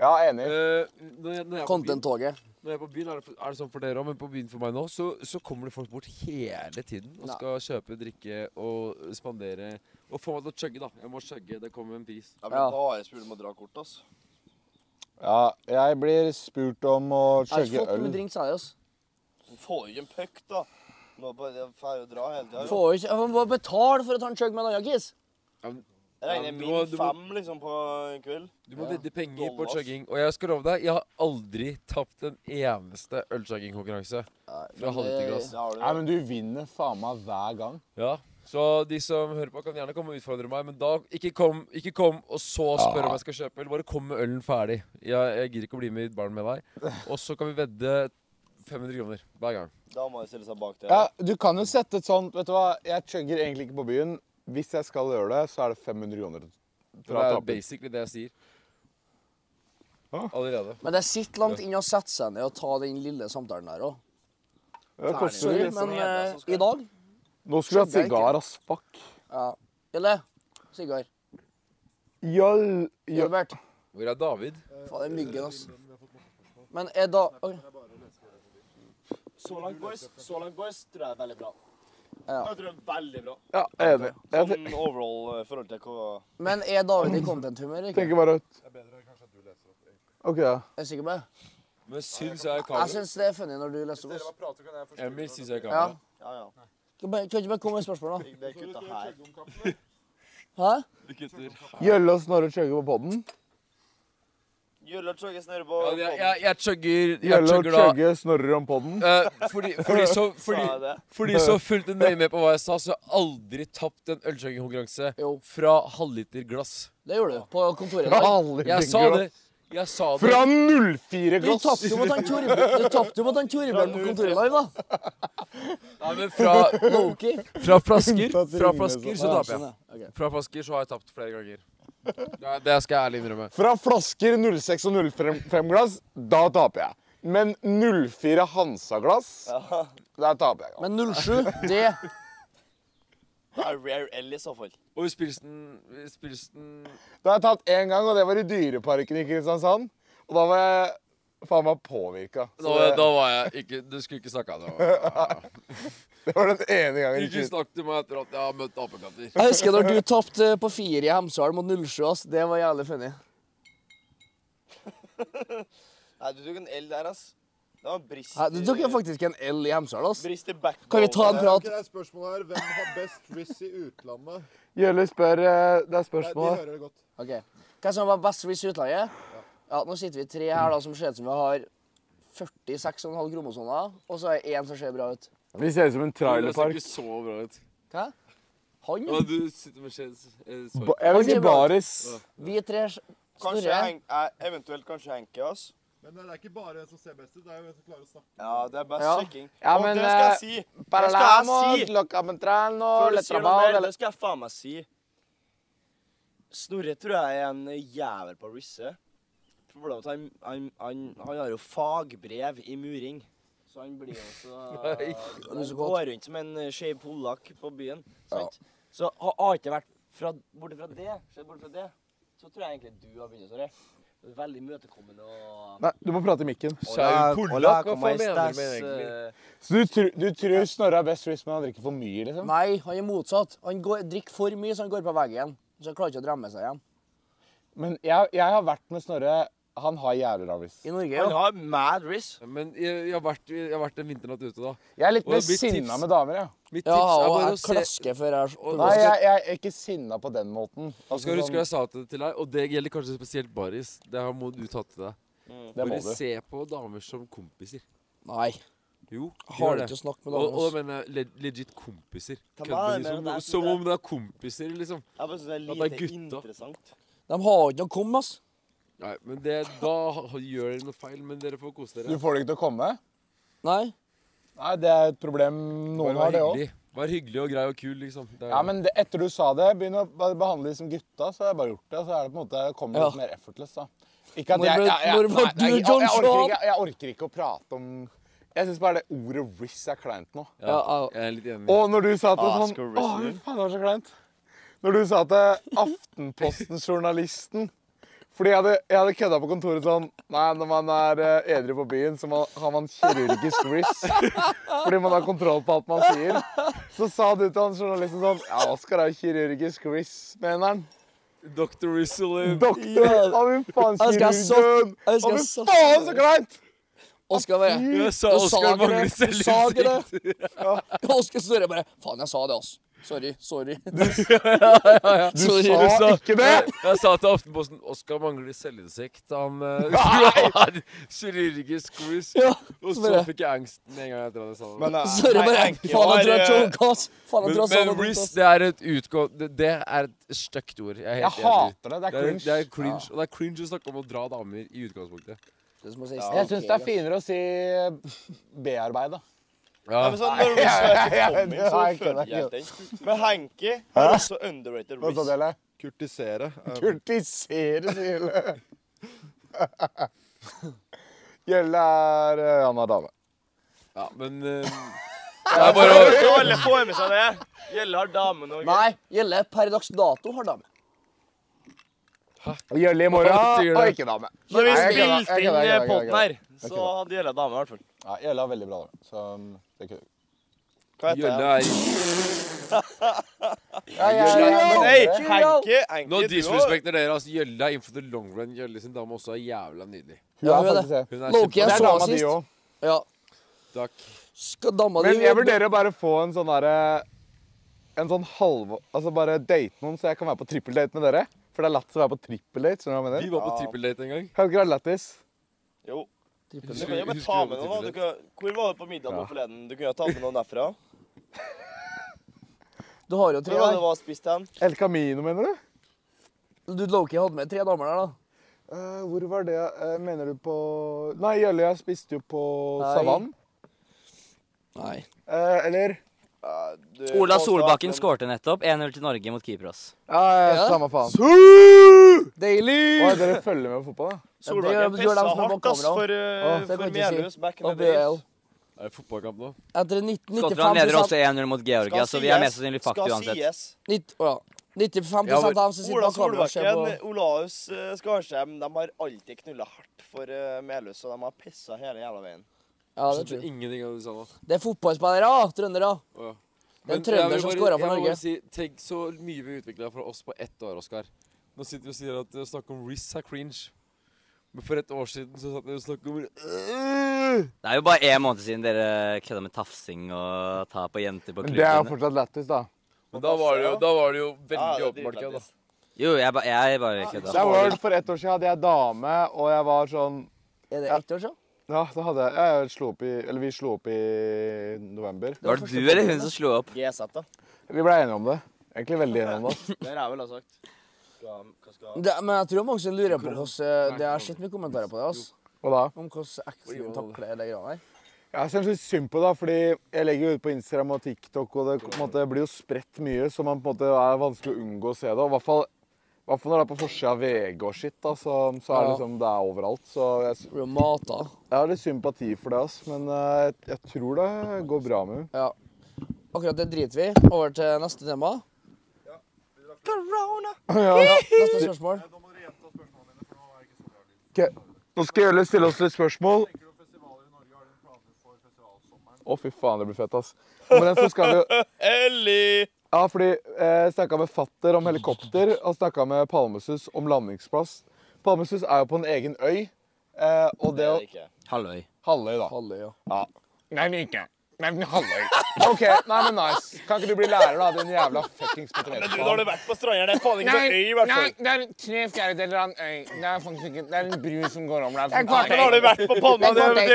Ja, enig.
Eh, når jeg, når jeg er på byen-
Content-toget.
Når jeg er på byen, er det, er det sånn for dere òg, men på byen for meg nå, så, så kommer det folk bort hele tiden og
Nei.
skal kjøpe, drikke og spandere. Og få meg til å chugge, da. Jeg må chugge. Det kommer en pris.
Jeg
Ja.
blir bare spurt om å dra kort, ass.
Ja, jeg blir spurt om å
Jeg har ikke
chugge
fått noe
øl.
med drink, sa jeg. ass.
Du får jo ikke en puck, da. Nå bare, jeg får jo dra hele tida.
Får jo ikke Jeg må bare betale for å ta en chug med en annen kis.
Jeg regner
Du må-
min
du må-
fem liksom på en kveld.
Du må vedde penger på
Dollars.
chugging. Og jeg skal love deg, jeg har aldri tapt en eneste ølchuggingkonkurranse. Fra halv til glass.
Det har du.
Nei, men du vinner faen meg hver gang.
Ja. Så de som hører på, kan gjerne komme og utfordre meg, men da ikke kom, ikke kom og så spørre om jeg skal kjøpe øl. Bare kom med ølen ferdig. Jeg, jeg gidder ikke å bli med i baren med deg. Og så kan vi vedde 500 kroner hver gang.
Da må jeg stille seg bak det.
Ja, du kan jo sette et sånt Vet du hva, jeg chugger egentlig ikke på byen. Hvis jeg skal gjøre det, så er det 500 kroner.
Det er
taper.
basically det jeg sier. Allerede.
Men det sitter langt inne å sette seg ned og ta den lille samtalen der òg.
Det sånn koster
Sorry,
jo
det som
men
heter,
eh,
som skal-
i dag
Nå skulle
Skjønner
du hatt
jeg
sigar, ass. Fuck.
Ja. Eller sigar.
Jøll. jøll.
Gilbert.
Hvor er David?
Faen, det er myggen, ass. Men er da ok.
Så langt, boys, så langt, boys, tror jeg er veldig bra.
Ja.
Jeg tror det er veldig bra.
Ja, enig. Jeg
Sånn overall eh, i forhold til hva
Men er David i content-humør? ikke?
tenker bare ut. OK, ja.
Jeg er sikker på det.
Men syns jeg er
Jeg
kamera?
syns det er funny når du leser opp. ass.
Emil syns jeg er
Ja.
kamera.
Ja, ja.
Kan bare- kan ikke bare komme med spørsmål, da?
Det er kutta her.
Hæ?
Du kutter.
Jølle og Snorre chugger på podden.
Jøller chugges nede på
Ja, jeg, jeg, jeg chugger, jeg
Jølle og
chugger da.
chugger Snorre om podden.
Eh, fordi, fordi, så, fordi,
jeg det?
fordi så fulgte nøye med på hva jeg sa, så har jeg aldri tapt en ølchuggingkonkurranse
Jo.
fra halvliterglass.
Det gjorde du. På kontoret.
Fra
der.
alle
Jeg sa
fingre.
det. Jeg sa det.
Fra 04
Du
glass!
tapte jo mot han Torbjørn Du tapte jo mot han Torbjørn på kontoret i dag, da.
Nei, men fra,
Loki.
fra flasker
Unntatt
Fra
Ringnes,
flasker så
Ja,
taper jeg.
sånn, ja. Ok.
Fra flasker så har jeg tapt flere ganger. Det, det skal jeg ærlig innrømme.
Fra flasker 06 og 05 glass, da taper jeg. Men 04 Hansa-glass, der taper jeg.
Men 07, det
Det er Rare L i så fall.
Og i spillelsen i spillelsen-
Det har jeg tatt én gang, og det var i Dyreparken i Kristiansand. Og da var jeg faen meg påvirka.
da, var- da var jeg ikke Du skulle ikke snakka det. var-
Det var den ene gangen. i
Ikke snakk til meg etter at jeg har møtt apekatter.
Jeg husker når du tapte på fire i Hemsedal mot 07, ass. Det var jævlig funny.
Nei, du tok en L der, ass. Det var en brist
Hæ, Du tok jo faktisk en L i Hemsedal, ass.
Brist i backbone.
Kan vi ta en
Det er,
prat?
ok, det er spørsmål her. Hvem har best riss i utlandet?
Jølle spør eh, Det er
Nei, de
spørsmål. her.
hører det godt.
Ok. Hva som var best hvis utlandet? Ja, nå sitter vi tre her da, som ser ut som vi har 46,5 kromosoner, og så er det én som ser bra ut.
Vi ser ut som en
Det ser
trailerpark.
ikke så bra ut.
Hæ? Han?
Ja, du sitter med skjeds... eh, sorry.
Ba- Jeg vil
Kanskje
si baris.
Vi tre
Kanskje
Snorre.
Henk, eh, eventuelt kanskje Henke, ass.
Men eh, det er ikke bare hvem som ser best ut, det er jo hvem som klarer å snakke.
Ja, det er best
Ja.
sjekking.
Ja,
Og
men,
det skal
eh,
jeg si! Det skal jeg si! Før du sier noe mer, det skal jeg faen meg si. Snorre tror jeg er en jævel på å risse. Problemet er at han, han, han, han har jo fagbrev i muring. Så han blir jo
<laughs>
så Han går rundt som en eh, skeiv polakk på byen. Sant? Så har har ikke vært fra, borte fra det, sett bort fra det, så tror jeg egentlig du har begynt, Snorre. Du er Veldig imøtekommende og
Nei, du må prate i mikken.
Skeiv polakk? Hva faen mener du med det egentlig?
egentlig?
Så du, tr du tror Snorre er best risk, men han drikker for mye, liksom?
Nei, han er motsatt. Han går, drikker for mye, så han går på veggen. Så han klarer ikke å drømme seg igjen.
Men jeg, jeg har vært med Snorre. Han har jævlig lav risk.
I Norge,
Han
jo.
har mad riss.
Men jeg, jeg, har vært, jeg har vært en vinternatt ute, da.
Jeg er litt
Og
mer
det blir
sinna
tips.
med damer, jeg.
Mitt
Ja,
tips er
og
bare
jeg
å se
klasker før jeg
Og-
Nei,
Skal-
jeg, jeg er ikke sinna på den måten.
Du skal huske jeg sa det til deg, og det gjelder kanskje spesielt Baris. Det her må du ta til deg.
det må
Bare
du.
se på damer som kompiser.
Nei.
Jo,
Har
gjør
du
det.
ikke å snakke med
Og, og
damer? ass?
jeg mener le legit kompiser.
Ta
Kødder
vare med det
liksom.
der,
Som
det-
om det er kompiser, liksom.
Jeg bare synes det er
Ja,
lite
det er gutta.
interessant.
De har ikke noe å komme med, ass.
Nei, men det, Da ha- gjør dere noe feil, men dere får kose
Du
dere.
får det ikke til å komme?
Nei.
Nei, det er et problem
Bare
noen
vær
har, det òg.
hyggelig. Vær hyggelig og grei og kul, liksom. Det er-
Ja, men det, etter du sa det, begynn å bare behandle de som gutta, så har jeg bare gjort det. Så er det på en måte, kommer det
Ja.
litt mer effortless, da. Ikke at
Når
jeg,
ble-
jeg, jeg,
når var
nei, nei,
du
jeg,
John
jeg, orker
Shaw?
ikke, jeg orker ikke å prate om Jeg syns bare det ordet 'riss' er kleint nå.
ja,
ja, ja.
jeg er litt enig.
Og når du sa at det
Ah,
sånn
skal
Å,
wrestling.
fy faen, det var så kleint. Når du sa at det- Aftenposten-journalisten Fordi jeg hadde, jeg hadde kødda på kontoret sånn Nei, når man er eh, edru på byen, så man, har man kirurgisk riss. <laughs> Fordi man har kontroll på alt man sier. Så sa du til han journalisten sånn Ja, Oskar er jo kirurgisk riss, mener han.
Dr. Rizzle
Doktor! Å, fy faen,
Jeg skal ha
kirurgen!
Jeg
Å,
husker jeg
fy
sa
faen, så kleint!
Oskar bare
Jeg sa
Du sa
Oskar
ikke
mangler
det. Du sa ikke det.
selvinnsikt.
<laughs> Oskar Støre bare Faen, jeg sa det, ass. Sorry.
<laughs>
Sorry.
Du
Sorry.
sa
Du sa-
ikke
<laughs>
det!
Jeg sa til Aftenposten Oskar mangler selvinnsikt. Han <laughs> eh, skulle ha en kirurgisk risk.
Ja,
Og
så
så
bare-
fikk jeg angst med en gang etter at jeg sa det.
Men, eh,
Sorry,
nei,
bare
jeg
Faen, jeg tror jeg
var, eh,
choka, ass. Faen, jeg
Men,
tror jeg sa
men
det.
riss,
ass.
det er et utgå... Det, det er et stygt ord. Jeg, er helt
Jeg
enig.
hater det. Det er
Det er,
cringe.
det er cringe, og det er cringe å snakke om å dra damer i utgangspunktet.
Det er som å si
Jeg syns det er
sneakers.
finere å si eh, bearbeida.
Ja,
Nei, men sånn,
<laughs>
når Riss er
Nei,
etter coming, så
nei,
føler
nei,
jeg den. Men Hanky er også underrated
Hva sa
Riss.
dere?
Kurtisere.
eh.
er-
Kurtisere, sier <laughs> Gjølle. Gjølle er eh, Han er dame.
ja, men eh, Det er bare å
Så alle får med seg det. Gjelle har damen og
Nei, Gjelle per dags dato har dame.
Gjølle i
Hva
morgen
betyr det?
og ikke dame.
Når vi
Nei, jeg kødda, jeg
spilte inn eh,
kødda, jeg kødda, jeg
poden
kødda.
her, så hadde Gjelle dame, i hvert fall.
Ja, Gjølle er veldig bra dame. Så mm, det er kult.
Hva heter
Gjølle
jeg?
er
Ja, jeg- jeg- jeg-
Men
jeg-
hei, Hanky, Hanky,
Nå
du også.
disrespekter dere. altså Gjølle er innenfor the long run. Gjølle sin dame også er jævla nydelig.
Hun er
Ja, hun er
faktisk det.
Hun er
Loki,
Det
jeg
er
så
dama
henne
di
sist.
òg.
Ja.
Takk.
Skal dama di
Men jeg vurderer å bare få en sånn derre En sånn halv... Altså bare date noen, så jeg kan være på trippeldate med dere. For det er lættis å være på trippeldate. skjønner du hva jeg
Vi
mener?
var på trippeldate en gang.
Kan det ikke være lættis?
Jo. Du
Husker-
kan jo bare
husker
ta
du
med
på
noen. da. Du kan, hvor var du på middag nå forleden? Du kunne jo ta med noen
<laughs>
derfra.
Du har jo
Hvor
tre
var det
der.
du var og spiste hen?
El Camino, mener du?
Du Loki hadde med tre damer der, da.
Eh, hvor var det eh, Mener du på Nei, Jølle, jeg spiste jo på
Nei.
Savann.
Nei.
Eh, eller
Ja, du
Ola
påstår
Solbakken
at-
skårte nettopp 1-0 til Norge mot Kypros.
Ja, ja,
Ja.
samme faen.
Deilig!
Oi, dere følger med på fotball, da?
Ja,
Solbakken
det gjør- gjør dem
pissa
som er bak
hardt ass,
kamera.
for,
Å,
uh,
det kan
for
jeg ikke si.
Melhus back in
Og
the
BL.
days.
Er det fotballkamp nå?
Etter 19,
Skottland leder
95
også 1-0 mot Georgia, så Altså, vi er mest sannsynlig fakta
skal
uansett.
sies.
Nitt- å ja. 95
Ja, men-
av dem som sitter
Ola
bak kamera, ser på
Solbakken, Olaus eh, Skarsheim, de har alltid knulla hardt for eh, Melhus, og de har pissa hele jævla veien.
Ja,
Altså,
det
Skjønte
tror jeg.
ingenting av det du sa nå.
Det er fotballspillere, trøndere.
Å,
Det
ja.
er en
Men jeg
trønder
vil
som
bare-
scoret for
jeg må
Norge.
bare Si, tenk så mye vi utvikla fra oss på ett år, Oskar. Nå sitter vi og sier at å snakke om Riz er cringe. Men for et år siden så satt vi og snakket om Øh!
Det er jo bare én måned siden dere kødda med tafsing og ta på jenter på
Men det er jo
klubben.
fortsatt lættis, da.
Men da var det jo, da var det jo veldig
Ja, det er
åpenbart kødd, da.
dritlættis.
Jo, jeg, ba, jeg bare
Det
kødda.
er World for ett år siden hadde jeg dame, og jeg var sånn
Er det
Ja.
ett år siden?
Ja, da hadde jeg, ja, jeg slo opp i Eller vi slo opp i november.
Var det du eller hun som slo opp?
GZ, da.
Vi ble enige om det. Egentlig veldig enige om det.
Det har jeg vel ha sagt. Skal, hva skal
Det, men jeg tror mange som lurer på hvordan Det har sett mye kommentarer på det. ass.
Og da?
Om hvordan eksen takler det greia der.
Jeg syns litt synd på det, da, fordi jeg legger jo ut på Instagram og TikTok, og det på en måte, blir jo spredt mye, så man på en måte er vanskelig å unngå å se det. og I hvert fall, i hvert fall når det er på forsida av VG og shit, da, så, så er det
Ja.
liksom det er overalt. Så jeg, s-
Blir jo mata.
jeg har litt sympati for det, ass, men eh, jeg, jeg tror det går bra med <laughs> henne.
Ja. Akkurat det driter vi i. Over til neste tema. Neste spørsmål.
Nå skal Jølle stille oss litt spørsmål. Å, fy faen, det blir fett, ass. Men den så skal vi jo
Ellie!
Ja, fordi eh, jeg snakka med fatter om helikopter, og snakka med Palmesus om landingsplass. Palmesus er jo på en egen øy, eh, og det å
ikke.
Halvøy.
Halvøy, da.
Halvøy, ja.
Nei, men ikke. Nei, men halløy. <laughs> OK, nei, men nice. Kan ikke du bli lærer, da? Din jævla fuckings potetfaen.
vært på stranda. Det er faen
Nei, nei, det er tre fjerdedeler av en øy. Det er faktisk ikke Det er en bru som går om der.
har du vært på Palma. Det er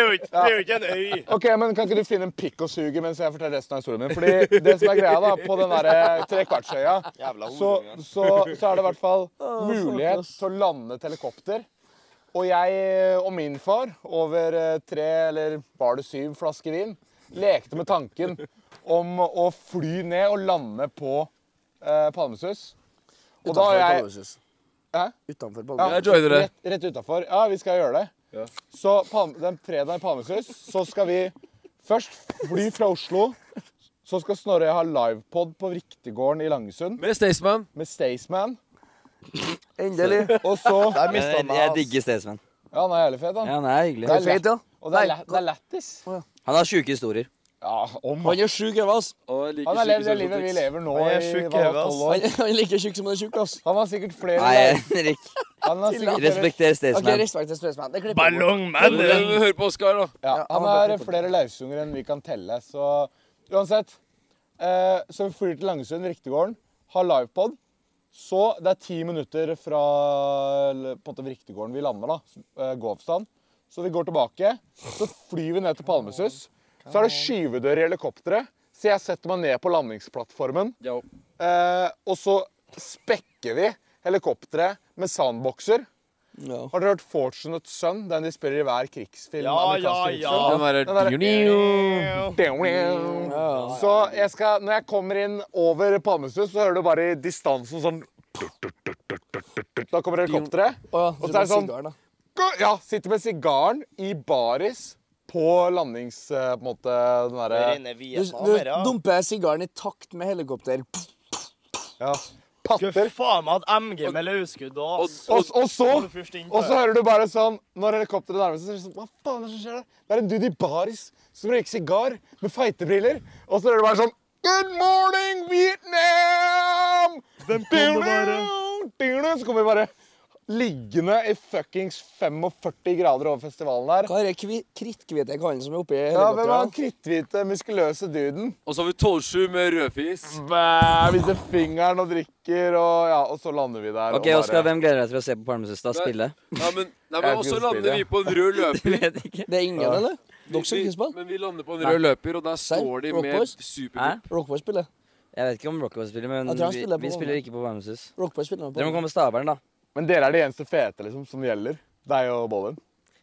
jo ikke, en øy.
Ok, men Kan ikke du finne en pikk og suge mens jeg forteller resten av historien min? Fordi det som er greia da, På den der eh, trekvartsøya
Jævla
så, så, så er det i hvert fall mulighet til å lande et helikopter. Og jeg eh, og min far, over eh, tre eller var det syv flasker vin, lekte med tanken om å fly ned og lande på eh, Palmesus. Og da har jeg Hæ?
Utenfor
Ja,
Palmesus.
Jeg joiner det.
Rett, rett utafor. Ja, vi skal gjøre det. Så Palm- den fredagen i Palmesus, så skal vi først fly fra Oslo. Så skal Snorre ha livepod på Riktiggården i Langesund
Med Staysman.
med Staysman.
Endelig.
Og så
Jeg mista
Jeg, jeg digger Staysman.
Ja, han er jævlig fet,
Ja,
han.
han er hyggelig.
Det er
Feit,
lett,
ja.
og det er, la- det er lættis.
Han har sjuke historier.
Ja, om
Han er sjuk, Eva. ass.
Han har levd det livet vi lever nå
Han er
i
sjuk,
hva,
Eva, ass.
12 år.
Han han er like tjukk som han er tjukk, ass.
Han har sikkert flere
Nei,
live-
Henrik.
Han har sikkert flere,
Respekter
Ok,
Staysman.
respekt til Staysman. Det klipper jeg bort.
Ballongmann.
Hør på Oskar, da.
ja,
Ja, han
han
har
har
flere-
flere lausunger enn vi kan telle, så Uansett. Eh, så vi flyr til Langesund, Riktiggården, har livepod. Så det er ti minutter fra l- på en måte Riktiggården vi lander, da. s- eh, Gåavstand. Så vi går tilbake. Så flyr vi ned til Palmesus. Så er det skyvedør i helikopteret, så jeg setter meg ned på landingsplattformen.
Ja.
Eh, og så spekker vi helikopteret med soundboxer.
Ja.
Har dere hørt 'Fortunate Son'? Den de spiller i hver krigsfilm?
Ja, ja,
amerikansk
ja.
krigsfilm?
Den derre
Den derre-
Nei,
Så jeg skal, når jeg kommer inn over Palmesus, så hører du bare i distansen sånn Da kommer helikopteret.
Å,
Og så er det sånn-
sigaren, da.
Ja, sitter med sigaren i baris på landings... eh, På en måte den derre
Du, du dumper sigaren i takt med helikopter. Pff,
ja,
Skulle
Patter.
faen meg hatt MG med løsskudd og
Og, og så
Går du først inn på
Og så
det?
hører du bare sånn Når helikopteret nærmer seg, så er det sånn Hva faen er det som skjer der? Det er en dude i baris som røyker sigar med feitebriller. Og så hører du bare sånn Good morning, Vietnam! Hvem
kan det være?
Så kommer vi bare liggende i fuckings 45 grader over festivalen her.
Hva er det kvi- kritthvite kallen som er oppi
Ja, hvem er den
helikopteret?
kritthvite, muskuløse duden?
Og så har vi 12-7 med rødfis.
Bæ, Viser fingeren og drikker, og ja, og så lander vi der.
OK,
og
Oskar, hvem gleder deg til å se på Palmesus da spille? <laughs>
Nei, men, nei,
Jeg
men også
kunne
lander
spille.
vi på en rød
<laughs>
løper.
Jeg vet ikke.
Det er ingen, eller? Dere som ikke spiller?
Men vi lander på en rød løper, og der står de
Rock
med
Boys?
Hæ?
supergruppe.
Rockboy spiller.
Jeg vet ikke om Rockaway spiller, men
Jeg tror han
vi,
spiller på
vi
Palmesus.
spiller ikke på Palmesus.
Rockboy spiller
Dere må
på.
komme med stabelen, da.
Men dere er de eneste fete liksom, som gjelder. Deg og Bollin.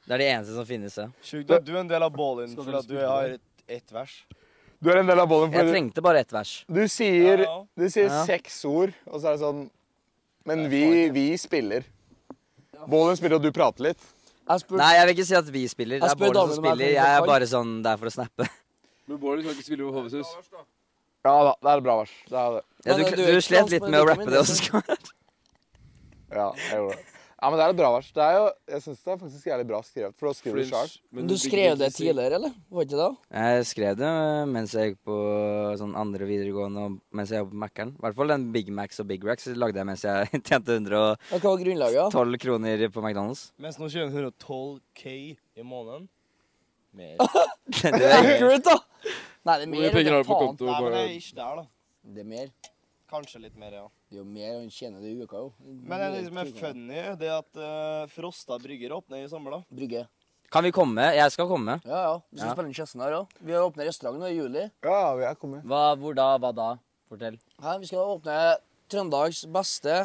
Det er de eneste som finnes. Ja.
Sjukt at du er en del av Ballin, for at du har et- ett vers.
Du er en del av Bollin.
Jeg trengte bare ett vers.
Du sier,
Ja, ja.
du sier
Ja.
seks ord, og så er det sånn Men vi, vi spiller. Bålen spiller, og du prater litt.
Jeg spurte
Nei, jeg vil ikke si at vi spiller. Det
Jeg
er
spør
Bård som
damene om jeg
spiller.
trenger
Jeg er
kall.
bare sånn der for å
<laughs>
snappe.
Men Bård kan ikke spille på Hovesus.
Ja da, det er et bra vers. Det er det.
Ja,
Nei,
du
nei, du er
du
ikke
slet
klar,
litt
men
med å
du kom
rappe
inn
det
i
også. Skar.
Ja, jeg gjorde det. Ja, men det er et bra vers. Det er jo, jeg syns det er faktisk jævlig bra skrevet, for å skrive det sjøl.
Men du skrev det tidligere, eller? Var ikke det?
Jeg skrev det mens jeg gikk på sånn andre videregående og mens jeg jobbet på Mækkern. I hvert fall den Big Macs og Big Racks lagde jeg mens jeg <laughs> tjente 112
Ja, Hva var grunnlaget? da?
kroner på McDonald's.
Mens nå kjører hun 112 K i måneden. <laughs> Mer.
Det er ikke-
Accurate, da! Nei, det er
Hvor
mer.
mye
vet
penger
du
har du på
faen.
Nei,
konto?
men det er
Bare-
ikke der, da.
Det er mer.
Kanskje litt mer, ja.
Det er jo mer han tjener det i uka, jo.
Men det som er funny, det er at eh, Frosta brygger åpner i sommer, da.
Brygge.
Kan vi komme? Jeg skal komme.
Ja, ja. Vi skal
Ja.
spille inn Kjessen her òg. Vi har åpnet restaurant nå i juli.
Ja, vi er kommet.
Hva, hvor da? Hva da? Fortell.
Her, vi skal åpne Trøndelags beste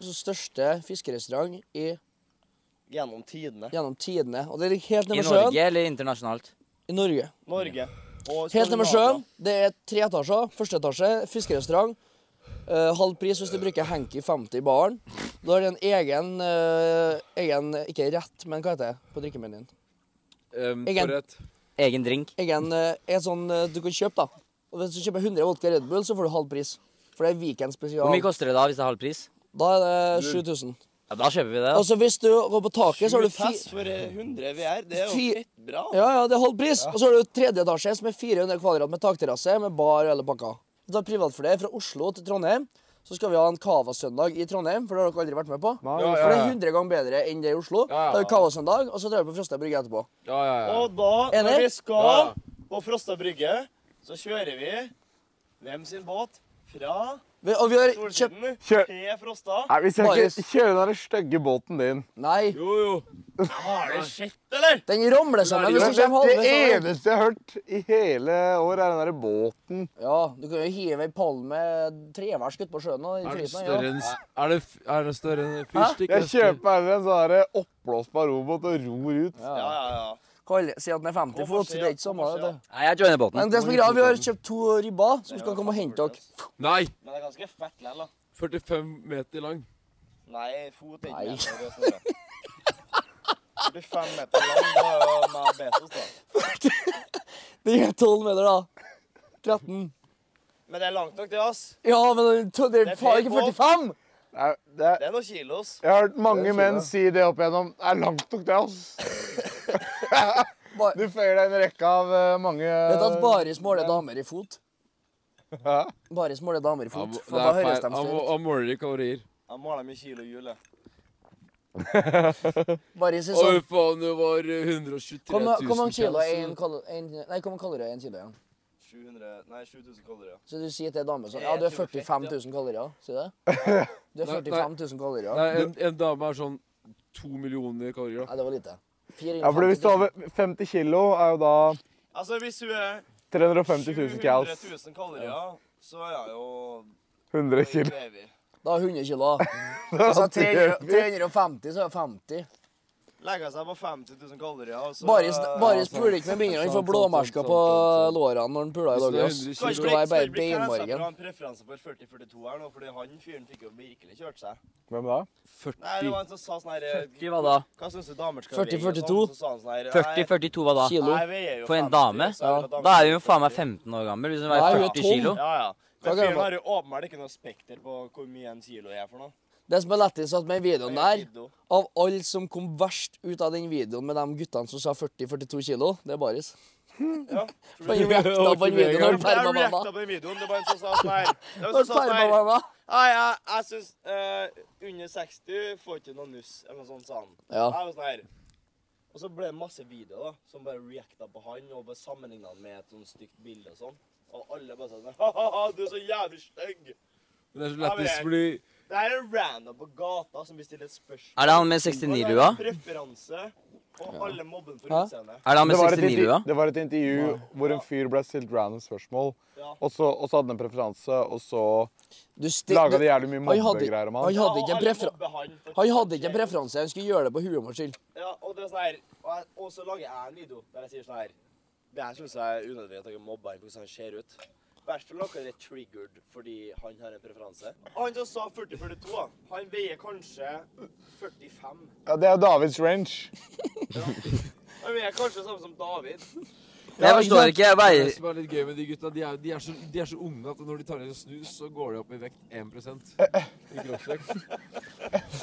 altså største fiskerestaurant i,
Gjennom tidene.
gjennom tidene. Og det ligger helt
I
nede ved sjøen.
Norge eller internasjonalt?
I Norge.
Norge. Og
Helt nede ved sjøen.
Skandinavia.
Det er tre etasjer. Første etasje, fiskerestaurant. Eh, halv pris hvis du bruker Hanky 50 i baren. Da har de en egen, eh, egen Ikke rett, men hva heter det på drikkemenyen? Egen.
Forrett.
Egen drink?
Egen eh, en sånn eh, du kan kjøpe, da. Og Hvis du kjøper 100 vodka Red Bull, så får du halv pris. For det er weekend
Hvor mye
spesial.
koster det da hvis det er halv pris?
Da er det 7000.
Ja, Da kjøper vi det. da.
Og så hvis du går på taket, så har du fi...
Test for eh, 100 VR, det er
Fi-
jo fett bra.
Ja, ja, det er halv pris. Og så har du tredje etasje, som er 400 kvadrat med takterrasse, med bar og hele pakka. Da er privat for det. Fra Oslo til Trondheim så skal vi ha en Cava-søndag i Trondheim, for det har dere aldri vært med på.
ja,
For det
ja.
er 100 ganger bedre enn det i Oslo.
ja,
Da er det Cava-søndag, og så drar vi på Frosta brygge etterpå.
Ja, ja, ja.
Og da, når
Enig?
vi skal på Frosta brygge, Så kjører vi hvem sin båt fra
Vi, og vi har kjøpt
Solsiden
Kjør.
til Frosta.
Nei, vi skal
Marius.
ikke kjøre den der stygge båten din.
Nei,
Jo, jo.
Har det skjedd, eller?
den ramler sammen hvis
Men
du
det,
kommer
det
halvveis. over.
eneste jeg har hørt i hele år, er den der båten.
Ja, du kan jo hive ei pall med trevers utpå sjøen. og i
Er den
flyten, ja.
større enn Er det, er den større enn
fyrstikk,
fyrstikk?
Jeg kjøper heller en sånn der oppblåsbar robåt og ror ut.
Ja, ja, ja.
Kall, si at den er 50
Hvorfor
fot, så det
sier-
er ikke samme.
hvorfor
vet
sier-
du.
Nei, jeg joiner båten.
Men det som er greia, vi har kjøpt to ribber som skal komme og hente dere.
Nei!
Men det er ganske fett likevel, da.
45 meter lang.
Nei, fot er ikke
Nei.
med på det, Snorre. Det blir fem meter lang, da er jo meg og Betos, da.
Den er 12 meter, da. 13.
Men det er langt nok, det, ass.
Ja, men den to- det
Det
er
er
faen ikke
fake
45!
Nei, det er,
Det er noen kilos.
jeg har hørt mange
Det er
menn
kjipt,
si det opp igjennom. Det er langt nok, det,
<laughs>
ass. Du føyer deg inn i rekka av eh, mange
Vet du at Baris måler damer i fot?
Hæ?
Baris måler damer i
Han,
fot.
det
For da
er
høres
feil.
de
Han, må-
større ut.
han måler i kalorier.
Jeg måler dem i kilo hjul, jeg.
Baris er
Oi,
sånn
faen, det var 123
Hvor
000
mange kilo er en
kalorier.
kal- en- Nei, hvor mange kalorier er en kilo igjen?
700, nei, 7000 kalorier.
Så du sier til ei dame sånn Ja, du er 45 000 kalorier. Sier du det? Du er
<laughs> Nei, nei.
45 000 kalorier.
Nei, en, en dame er sånn 2 millioner kalorier. da.
Nei, det var lite.
Ja, for hvis du har 50 kilo, er jo da
Altså, hvis hun er
350 000
700
cows.
000 kalorier, så er jeg jo
100 kilo.
baby.
Da er 100 kilo.
<laughs>
Altså 300, 350, så er det 50.
Legger seg på 50 000 kalorier, og så sånn.
Baris, Baris
sant.
puler ikke med bingene. Han får
Sant, sant,
blåmerker
sant,
på
sant, sant.
lårene når han puler i
Hvis
dag.
det er
ass.
Skal
100
Det
ikke
skal
bli-
være
skal
bare
ikke bli knæsett fra
beinmargen.
en preferanse for 40-42 her nå, fordi han fyren fikk jo virkelig kjørt seg.
Hvem da?
Nei, det var en som sa sånn her eh,
hva da?
Hva syns du damer skal
40,
veie?
42?
Så sa han sånn her, nei,
40-42, hva da?
Kilo.
nei, jeg veier jo
For en
50,
dame?
så jeg vil ha
Da
damer
er hun
på
faen meg
40.
15 år gammel. Hvis hun
Nei,
veier
hun er
40
tom.
kilo.
Ja, ja.
Hva kan
Men
jeg
fyren
få?
har jo åpenbart ikke noe spekter på hvor mye en kilo er for noe.
Det som er lettest at med videoen der,
Kilo.
av alle som kom verst ut av den videoen med de guttene som sa 40-42 kilo, det er Baris. <laughs>
Ja.
For Han reacta på den videoen når han
Jeg
perma
reacta
mamma.
på den videoen. Det var en som sa sånn her. Det var
Når
en som sa
han
sånn
perma
her.
mamma.
Nei, jeg, jeg syns under 60 får ikke noe nuss, eller noe sånt, sa han.
Ja.
Jeg var sånn her. Og så ble det masse videoer da, som bare reacta på han, og bare sammenligna han med et sånn stygt bilde og sånn. Og alle bare sa sånn <laughs> Ha-ha, du er så jævlig stygg.
Men det er så lettest fordi
Det her er random på gata som vil stille et spørsmål.
Er det han med
Og
69-lua?
det er Preferanse, og alle mobben for
Hæ?
utseende.
Er det han
Det
med
var, et
69-lua?
intervju, det var et intervju hvor en fyr ble stilt random spørsmål,
Ja.
og så, og så hadde han en preferanse, og så
Du ste-
laga
du-
de jævlig mye
Han hadde-
mobbegreier om
han
han.
Ja,
hadde
og
ikke en
alle
prefer-
mobber han for
Han hadde ikke en
ting.
preferanse. Han skulle gjøre det på huet vårt skyld.
Ja, og det er sånn her Og, jeg, og så lager jeg en video der jeg sier sånn her Det her syns jeg er unødvendig at dere mobber ham for hvordan han ser ut. I hvert fall dere er triggered fordi han har en preferanse. Han som sa 40-42, han veier kanskje 45.
Ja, det er Davids range.
Han veier kanskje samme som David.
Men jeg forstår ikke. Jeg
det
veier
som er litt gøy med de gutta, de er, de er, så, de er så unge at når de tar ned en snus, så går de opp i vekt 1
Eh,
i kroppsvekt.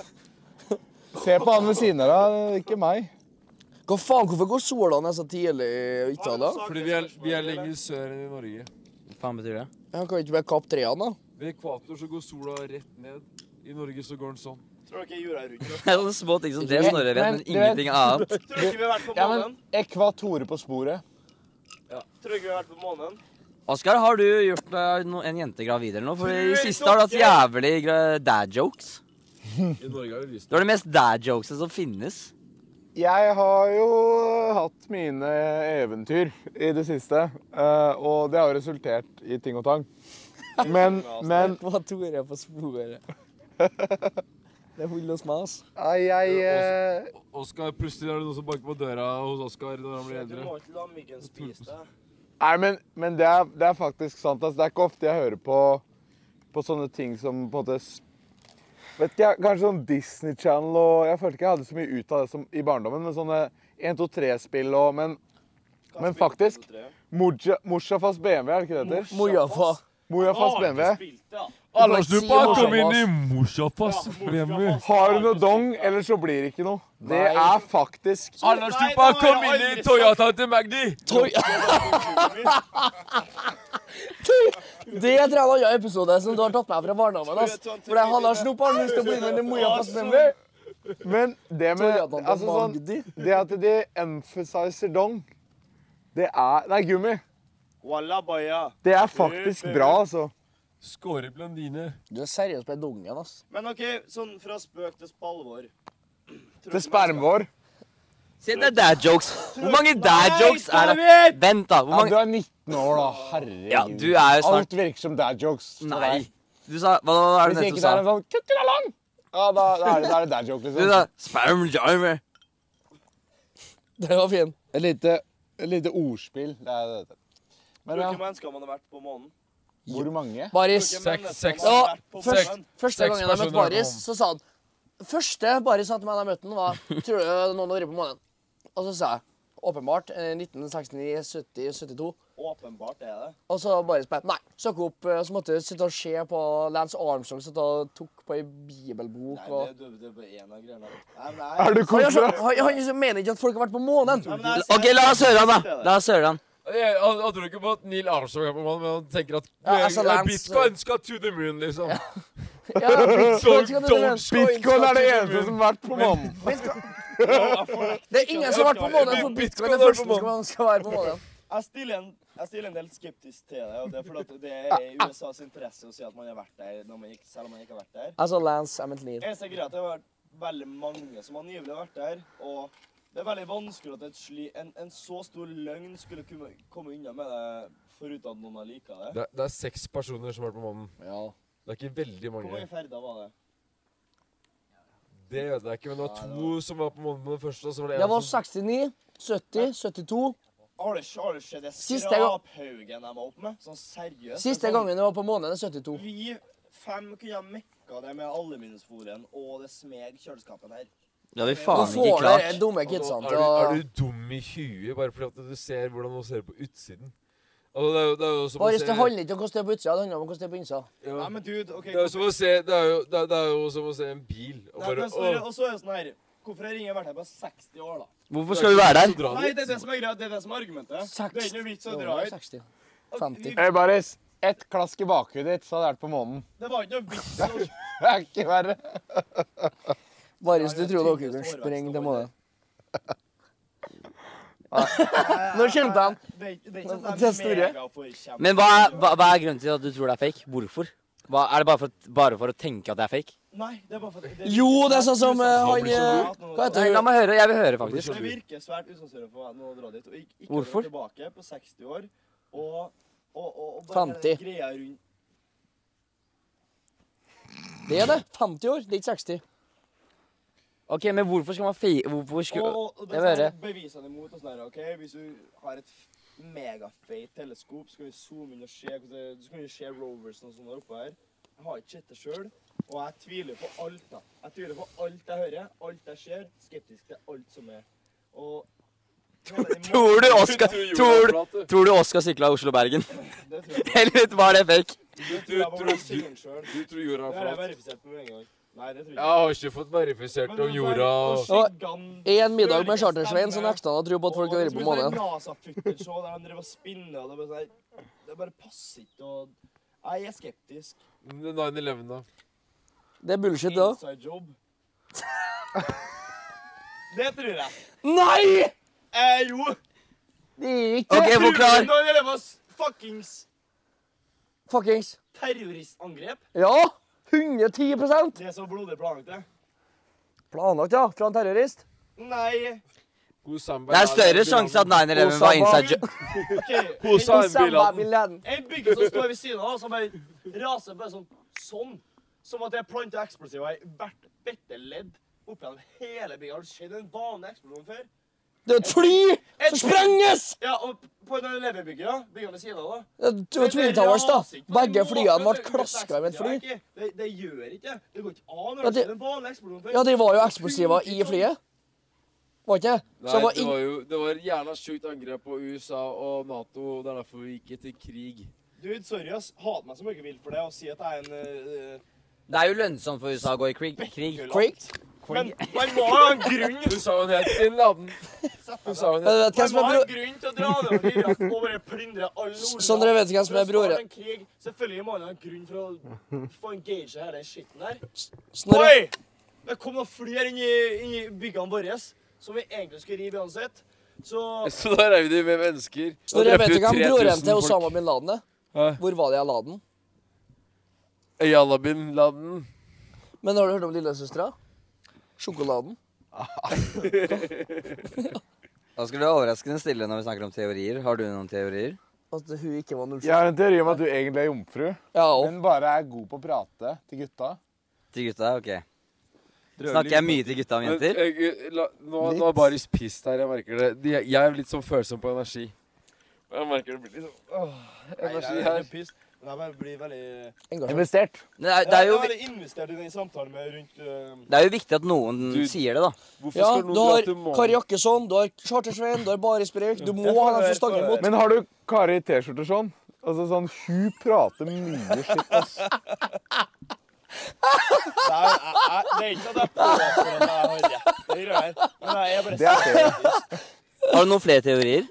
Se på han ved siden av deg, ikke meg.
Hva faen, hvorfor går sola ned så tidlig i Italia?
Fordi vi er, vi er lenger sør enn i Norge.
Hva faen betyr det?
Han kan ikke bare kappe trærne, da. <laughs>
Ved ekvator så går sola rett ned. I Norge så går den sånn.
Tror dere jorda er rundt?
<laughs> Det er sånne små ting som det Snorre vet,
Men-
men ingenting annet.
Tror dere vi har vært på
Ja, men
månen?
Ekvatore på sporet.
Tror dere vi har vært på månen?
Oskar, har du gjort deg no en jente gravid eller noe? For i
Tror
det siste har du hatt jævlig gra- dad jokes.
I Norge er det lyst.
Du har de mest dad jokesene som finnes.
Jeg har jo hatt mine eventyr i det siste, eh, og det har jo resultert i ting og tang. Men, men
Hva tror jeg på
<laughs>
sporet? Det holder hos meg, ass.
nei, jeg eh,
Oskar, plutselig er det noen som banker på døra hos Oskar når han blir
Du
eldre.
må ikke la myggen spise deg.
Nei, men, men det, er, det er faktisk sant. ass. Det er ikke ofte jeg hører på, på sånne ting som på en måte s- Vet ikke, jeg, Kanskje sånn Disney Channel og Jeg følte ikke jeg hadde så mye ut av det som, i barndommen. Men sånne 1-2-3-spill og Men, men faktisk Moja- Mojafas BMW, er det ikke det det heter?
Mojafa.
Mojafas BMW.
Aldersduppa kom inn i morsafas BMW.
Har du noe dong, eller så blir det ikke noe. Det
Nei.
er faktisk
Aldersduppa kom inn i Toyota til Magdi.
Det tror jeg er en annen episode som du har tatt med fra barndommen. ass. For jeg hadde snopp og lyst til å bli med i Mojafas BMW.
Men det med
Toyota til
altså, sånn,
Magdi.
Det at de emphasizer dong, det er Nei, gummi.
Walla baya.
Det er faktisk bra, altså.
Skåre Blandine.
Du er seriøst på dungen, ass.
Men OK, sånn fra spøk til spalvor.
Til spermvår.
Se, det er dad-jokes. Hvor mange dad-jokes er det? Vent, da. Hvor
Ja, du
mange...
er 19 år, da. Herregud.
Ja, du er jo snart
Alt virker som dad jokes. for
Nei.
deg.
Du sa Hva hva er det
Hvis
du
ikke
nettopp
det er en
sa?
sånn kuttelalang, ja, da, da er det, da er det dad joke,
Du
liksom.
sa sperm jarmer.
Den var fin.
Et lite, et lite ordspill. Det er det. det heter. Men
Hvor mange
ja,
mennesker man har vært på månen?
hvor mange?
Baris.
Hvor mange
Seks,
mennesker
seks.
man har
Ja,
vært på
seks.
månen?
Første
Seks
gangen jeg møtte
personer
Baris,
kom.
så sa han Første Baris sa til meg da jeg møtte han, var Tror du noen har vært på månen? Og så sa jeg åpenbart eh, 1969, 70, 72.
Åpenbart er det.
Og så Baris bare Nei. Søk opp eh, Så måtte jeg sitte og se på Lance Armstrong sitte og tok på ei bibelbok
Nei,
og
det, det, det er bare en av greiene. Nei, men nei.
Er
Han, er
du
så,
koselig?
han, han så mener ikke at folk har vært på månen.
Nei, men jeg ser-
OK, la oss høre han, da. La oss høre han.
Jeg, han, han tror ikke på at Neil Armstrong er på mannen, men han tenker at
Ja, altså,
eh,
Lance-
Bitcoin skal to the moon, liksom.
Ja, bitcoin skal til
don't
månen.
Bitcoin er det eneste som har vært på månen.
Det er ingen som har vært på månen, for bitcoin er det første som skal være på månen.
Jeg stiller, en, jeg stiller en del skeptisk til det, og det er fordi at det er i USAs interesse å si at man har vært der, når man ikke, selv om man ikke har vært der.
Altså Lance, jeg mente Neil.
Eneste greia er at det har vært veldig mange som angivelig har vært der, og det er veldig vanskelig at et sli, en, en så stor løgn skulle kunne komme unna med det, foruten at noen har liket det.
Det, er- det er seks personer som har vært på månen. Det er ikke veldig
Hvor
mange.
mange ferder var det?
Det vet jeg ikke, men det var to som var på månen på den første. Og så var det
Det
en
var
som
69, 70, 72.
Har det har det skjedd det
Siste gang-
skraphaugen de var oppe med? Sånn seriøst?
Siste
det er sånn-
gangen jeg var på månen, er 72.
Vi fem kunne ha mekka det med aluminiumsfolien og det smeg kjøleskapet her.
Det hadde vi
Nå
faen ikke
får dere
klart.
dumme
Altså,
kidsene
er,
til
du,
å
er du dum i huet bare fordi at du ser hvordan man ser det på utsiden? Altså, det, er jo, det er jo som å
Baris,
se
det handler ikke om hvordan det er på utsida, det handler om hvordan det er på innsida.
ja.
Nei, men dude, OK.
Det er jo som å se Det er jo, det er, det er jo som å se en bil og
Nei,
bare
men sorry,
«Åh,
og så er det sånn her Hvorfor har ingen vært her på 60 år, da?
Hvorfor skal vi være
så
der?
drar
Nei,
vi».
det er det som er greia. Det er det som er argumentet. Det er ikke noe vits å dra ut.
60. 50.
Hei, Eh, Baris. Ett klask i bakhudet ditt, så hadde jeg vært på månen. <laughs>
Det var ikke noe vits å
Det er ikke verre.
Baris, du
Ja,
tror dere
jeg
kan
tenkte
sprenge
det
til
var
månen? <laughs> Nå kjente han.
Det er ikke
<laughs>
det er ikke sånn at
Det
de
er store.
megaforkjemper.
Men hva, er- hva, hva er grunnen til at du tror det er fake? Hvorfor? Hva, er det bare for, at- bare for å tenke at det er fake?
Nei, det er bare for det
Jo, det er sånn som eh, han eh, Hva
Nei,
heter
la
hun?
meg høre. Jeg vil høre, faktisk.
sånn Det virker svært usannsynlig for meg nå å dra dit. Og ikke, ikke
Hvorfor?
dra tilbake på 60 år og, og, og, og bare
50.
greia rundt
Det er det. 50 år, det er ikke 60.
OK, men hvorfor skal man fake Hvorfor skulle
Og, og det
Jeg
er
hører.
sånn bevisene imot og sånn her, ok? Hvis du har et megafeit teleskop, så kan vi zoome inn og se hvordan det- Du kan jo se Roversen og sånn der oppe her. Jeg har ikke sett det sjøl, og jeg tviler på alt. da. Jeg tviler på alt jeg hører, alt jeg ser. Skeptisk til alt som er.
<laughs>
Og
Tror du Oskar tror, du- tror du Oskar sykla <laughs> Oslo-Bergen?
Det tror jeg på.
Eller var det fake?
Det tror jeg på
tror-
meg selv.
Du tror jorda
Det
er
har jeg
flat?
verifisert med en gang. Nei, det tror jeg
Jeg har ikke fått verifisert om jorda og
En middag med sånn Chartersveien så nekta han å tro på at folk har vært på månen.
NASA-futtershow sånn der han drev og spinner, og det bare sånn her, Det bare passer ikke og Nei, jeg er skeptisk.
9-11, da.
Det er bullshit, det òg.
Inside job. <laughs> Det tror jeg.
Nei!
Eh, jo.
Det er ikke
OK, forklar.
Når det var fuckings
Fuckings.
terroristangrep.
Ja! 110
Det er så blodig planlagt, det.
Planlagt, ja. Fra en terrorist.
Nei.
Hvor Osama
Det er
bin
større
Laden-
sjanse at 9-11 var inside job.
OK.
Hvor Osama bin
Osama
Laden-
bin Laden.
En bygge som står ved siden av, som bare raser bare sånn. Sånn. Som at det er planta eksplosiver i hvert bitte ledd opp gjennom hele bygget. Har det skjedd en vanlig eksplosjon før?
Det er et fly som sprenges!
Ja, og på en leverbygge, da. Byggene ved siden av, da.
Det er Tw- Twin Towers, da. Begge flyene ble klaska med et fly.
Det, det gjør ikke det. Det går ikke an.
Ja,
Det
det-
er en vanlig eksplosjon. før.
Ja, de var jo eksplosiver i flyet. Var ikke det? Så
Nei,
det var
det
ing-
var jo Det var et jævla sjukt angrep på USA og Nato, og det er derfor vi gikk til krig.
Dude, sorry, ass. Hat meg som ikke vil for det, og si at jeg er en eh,
Det er jo lønnsomt for USA å gå i krig. krig.
kulant.
Quick.
Men man må ha en grunn
Hun sa hun het bin Laden. Hun sa hun
Men
het
Eh, vet hvem
Man
som
må
er
ha en
bro...
grunn til å dra nedover til Irak og bare plyndre
<laughs>
alle ordene.
Sondre, vet du hvem som er
For å starte
bror-
en krig, Selvfølgelig må man ha en grunn for å få engage her, den skitten her.
Snorre.
Oi! Det kom noen flere inn i, inn i byggene våre som vi egentlig skulle rive uansett. Så
Så da reiv de med mennesker.
Så dere vet ikke hvem broren til
folk.
Osama bin Laden er?
Hæ?
Hvor var det jeg la den?
Ayala bin Laden.
Men har du hørt om lillesøstera? Sjokoladen?
Da skulle det være overraskende stille når vi snakker om teorier. Har du noen teorier?
At hun ikke var 07?
Jeg har en teori om at du egentlig er jomfru,
Ja, og
men bare er god på å prate til gutta.
Til gutta? Ok. Snakker jeg mye til gutta om
Men,
jenter?
eh, eh, la, nå, nå er Baris pissed her, jeg merker det. De, jeg er litt sånn følsom på energi. Jeg merker det blir litt sånn åh, energi her.
pissed. Men jeg bare blir veldig
engasjement.
Investert.
Men Det er, det, er
Jeg
jo,
er
vi-
veldig investert i den samtalen med rundt eh,
det er jo viktig at noen
Du-
sier det, da.
Hvorfor
Ja,
skal
du
noen dra
har
til
Kari
månen?
Jakkesson, du har Charter-Svein, du har Baris Breivik. Du må
Mm. Jeg får
ha dem som
høre,
stanger
får
imot.
Men har du Kari i T-skjorte sånn? Altså sånn, Hun prater mye skitt, ass.
Nei, jeg, jeg, det er ikke at jeg påstår at jeg har rett. Det gjør jeg. Men jeg er bare
Det er det.
Har du noen flere teorier?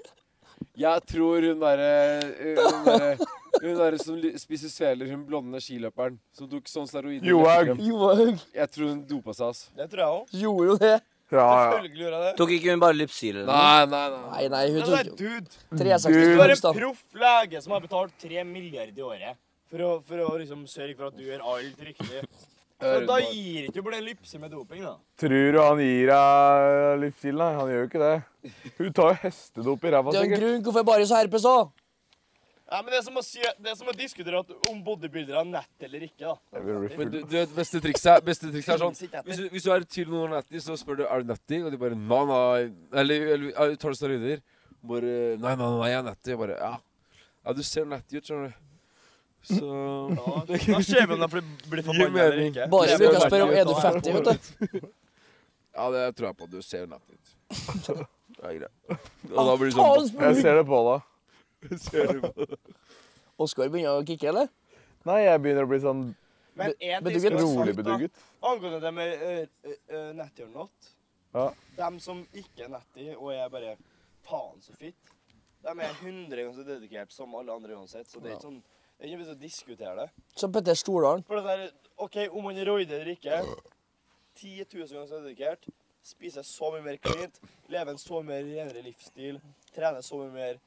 Jeg tror hun derre eh,
<laughs>
Hun derre hun der som li- spiser sveler, hun blonde skiløperen som tok sånn steroider.
Johaug.
Johaug
Jeg tror hun dopa seg, ass.
Det tror jeg òg.
gjorde jo det.
Ja, ja.
Selvfølgelig gjør jeg det.
Tok ikke hun bare Lypsyl eller noe?
Nei, nei, nei.
Nei, nei, hun
Men det er
tok jo
dude.
360
Altså, Du er en
Bogstad.
proff lege som har betalt 3 milliarder i året for å, for å liksom sørge for at du gjør alt riktig. Så da gir ikke du bare lypse med doping, da.
Tror du han gir deg livsstil? Nei, han gjør jo ikke det. Hun tar jo hestedop i ræva,
Det er jo en
sikkert.
grunn hvorfor Baris har herpes òg.
Ja, men det er som å, si, det er som å diskutere at, om bodybuildere har nett eller ikke, da.
Det blir
Men
riffle.
du, du vet, beste trikset er, beste trikset er sånn
Sitt etter.
hvis du, hvis du er i tvil om noen er natty, så spør du er du natty, og de bare nei, nei Eller, eller «Ja, tar du steroider? Bare nei, nei, nei, jeg er natty. Jeg bare ja. ja. Du ser natty ut, skjønner du. Så
Ja, da ser vi om de blir, blir
Gir
forbanna
mening.
eller ikke.
Baris bruker å
Nei,
spørre om
nei,
er du fattig, vet du.
Ja, det tror jeg på. Du ser natty ut. Det er greit. Og da blir det sånn
Jeg
Faen,
ser det på deg.
ser du på det.
Oskar begynner å kicke, eller?
Nei, jeg begynner å bli sånn
Men en ting
Bedugget.
skal være sagt,
rolig
da.
bedugget.
Angående det med uh, Natty or not
Ja.
Dem som ikke er Natty og er bare faen så fitt, dem er 100 ganger så dedikert som alle andre uansett. Så det er ikke sånn det er ikke noe vits å diskutere det.
Som Petter Stordalen.
For det der, OK, om man er roider eller ikke 10 000 ganger så dedikert, spiser så mye mer klint, lever en så mye mer renere livsstil, trener så mye mer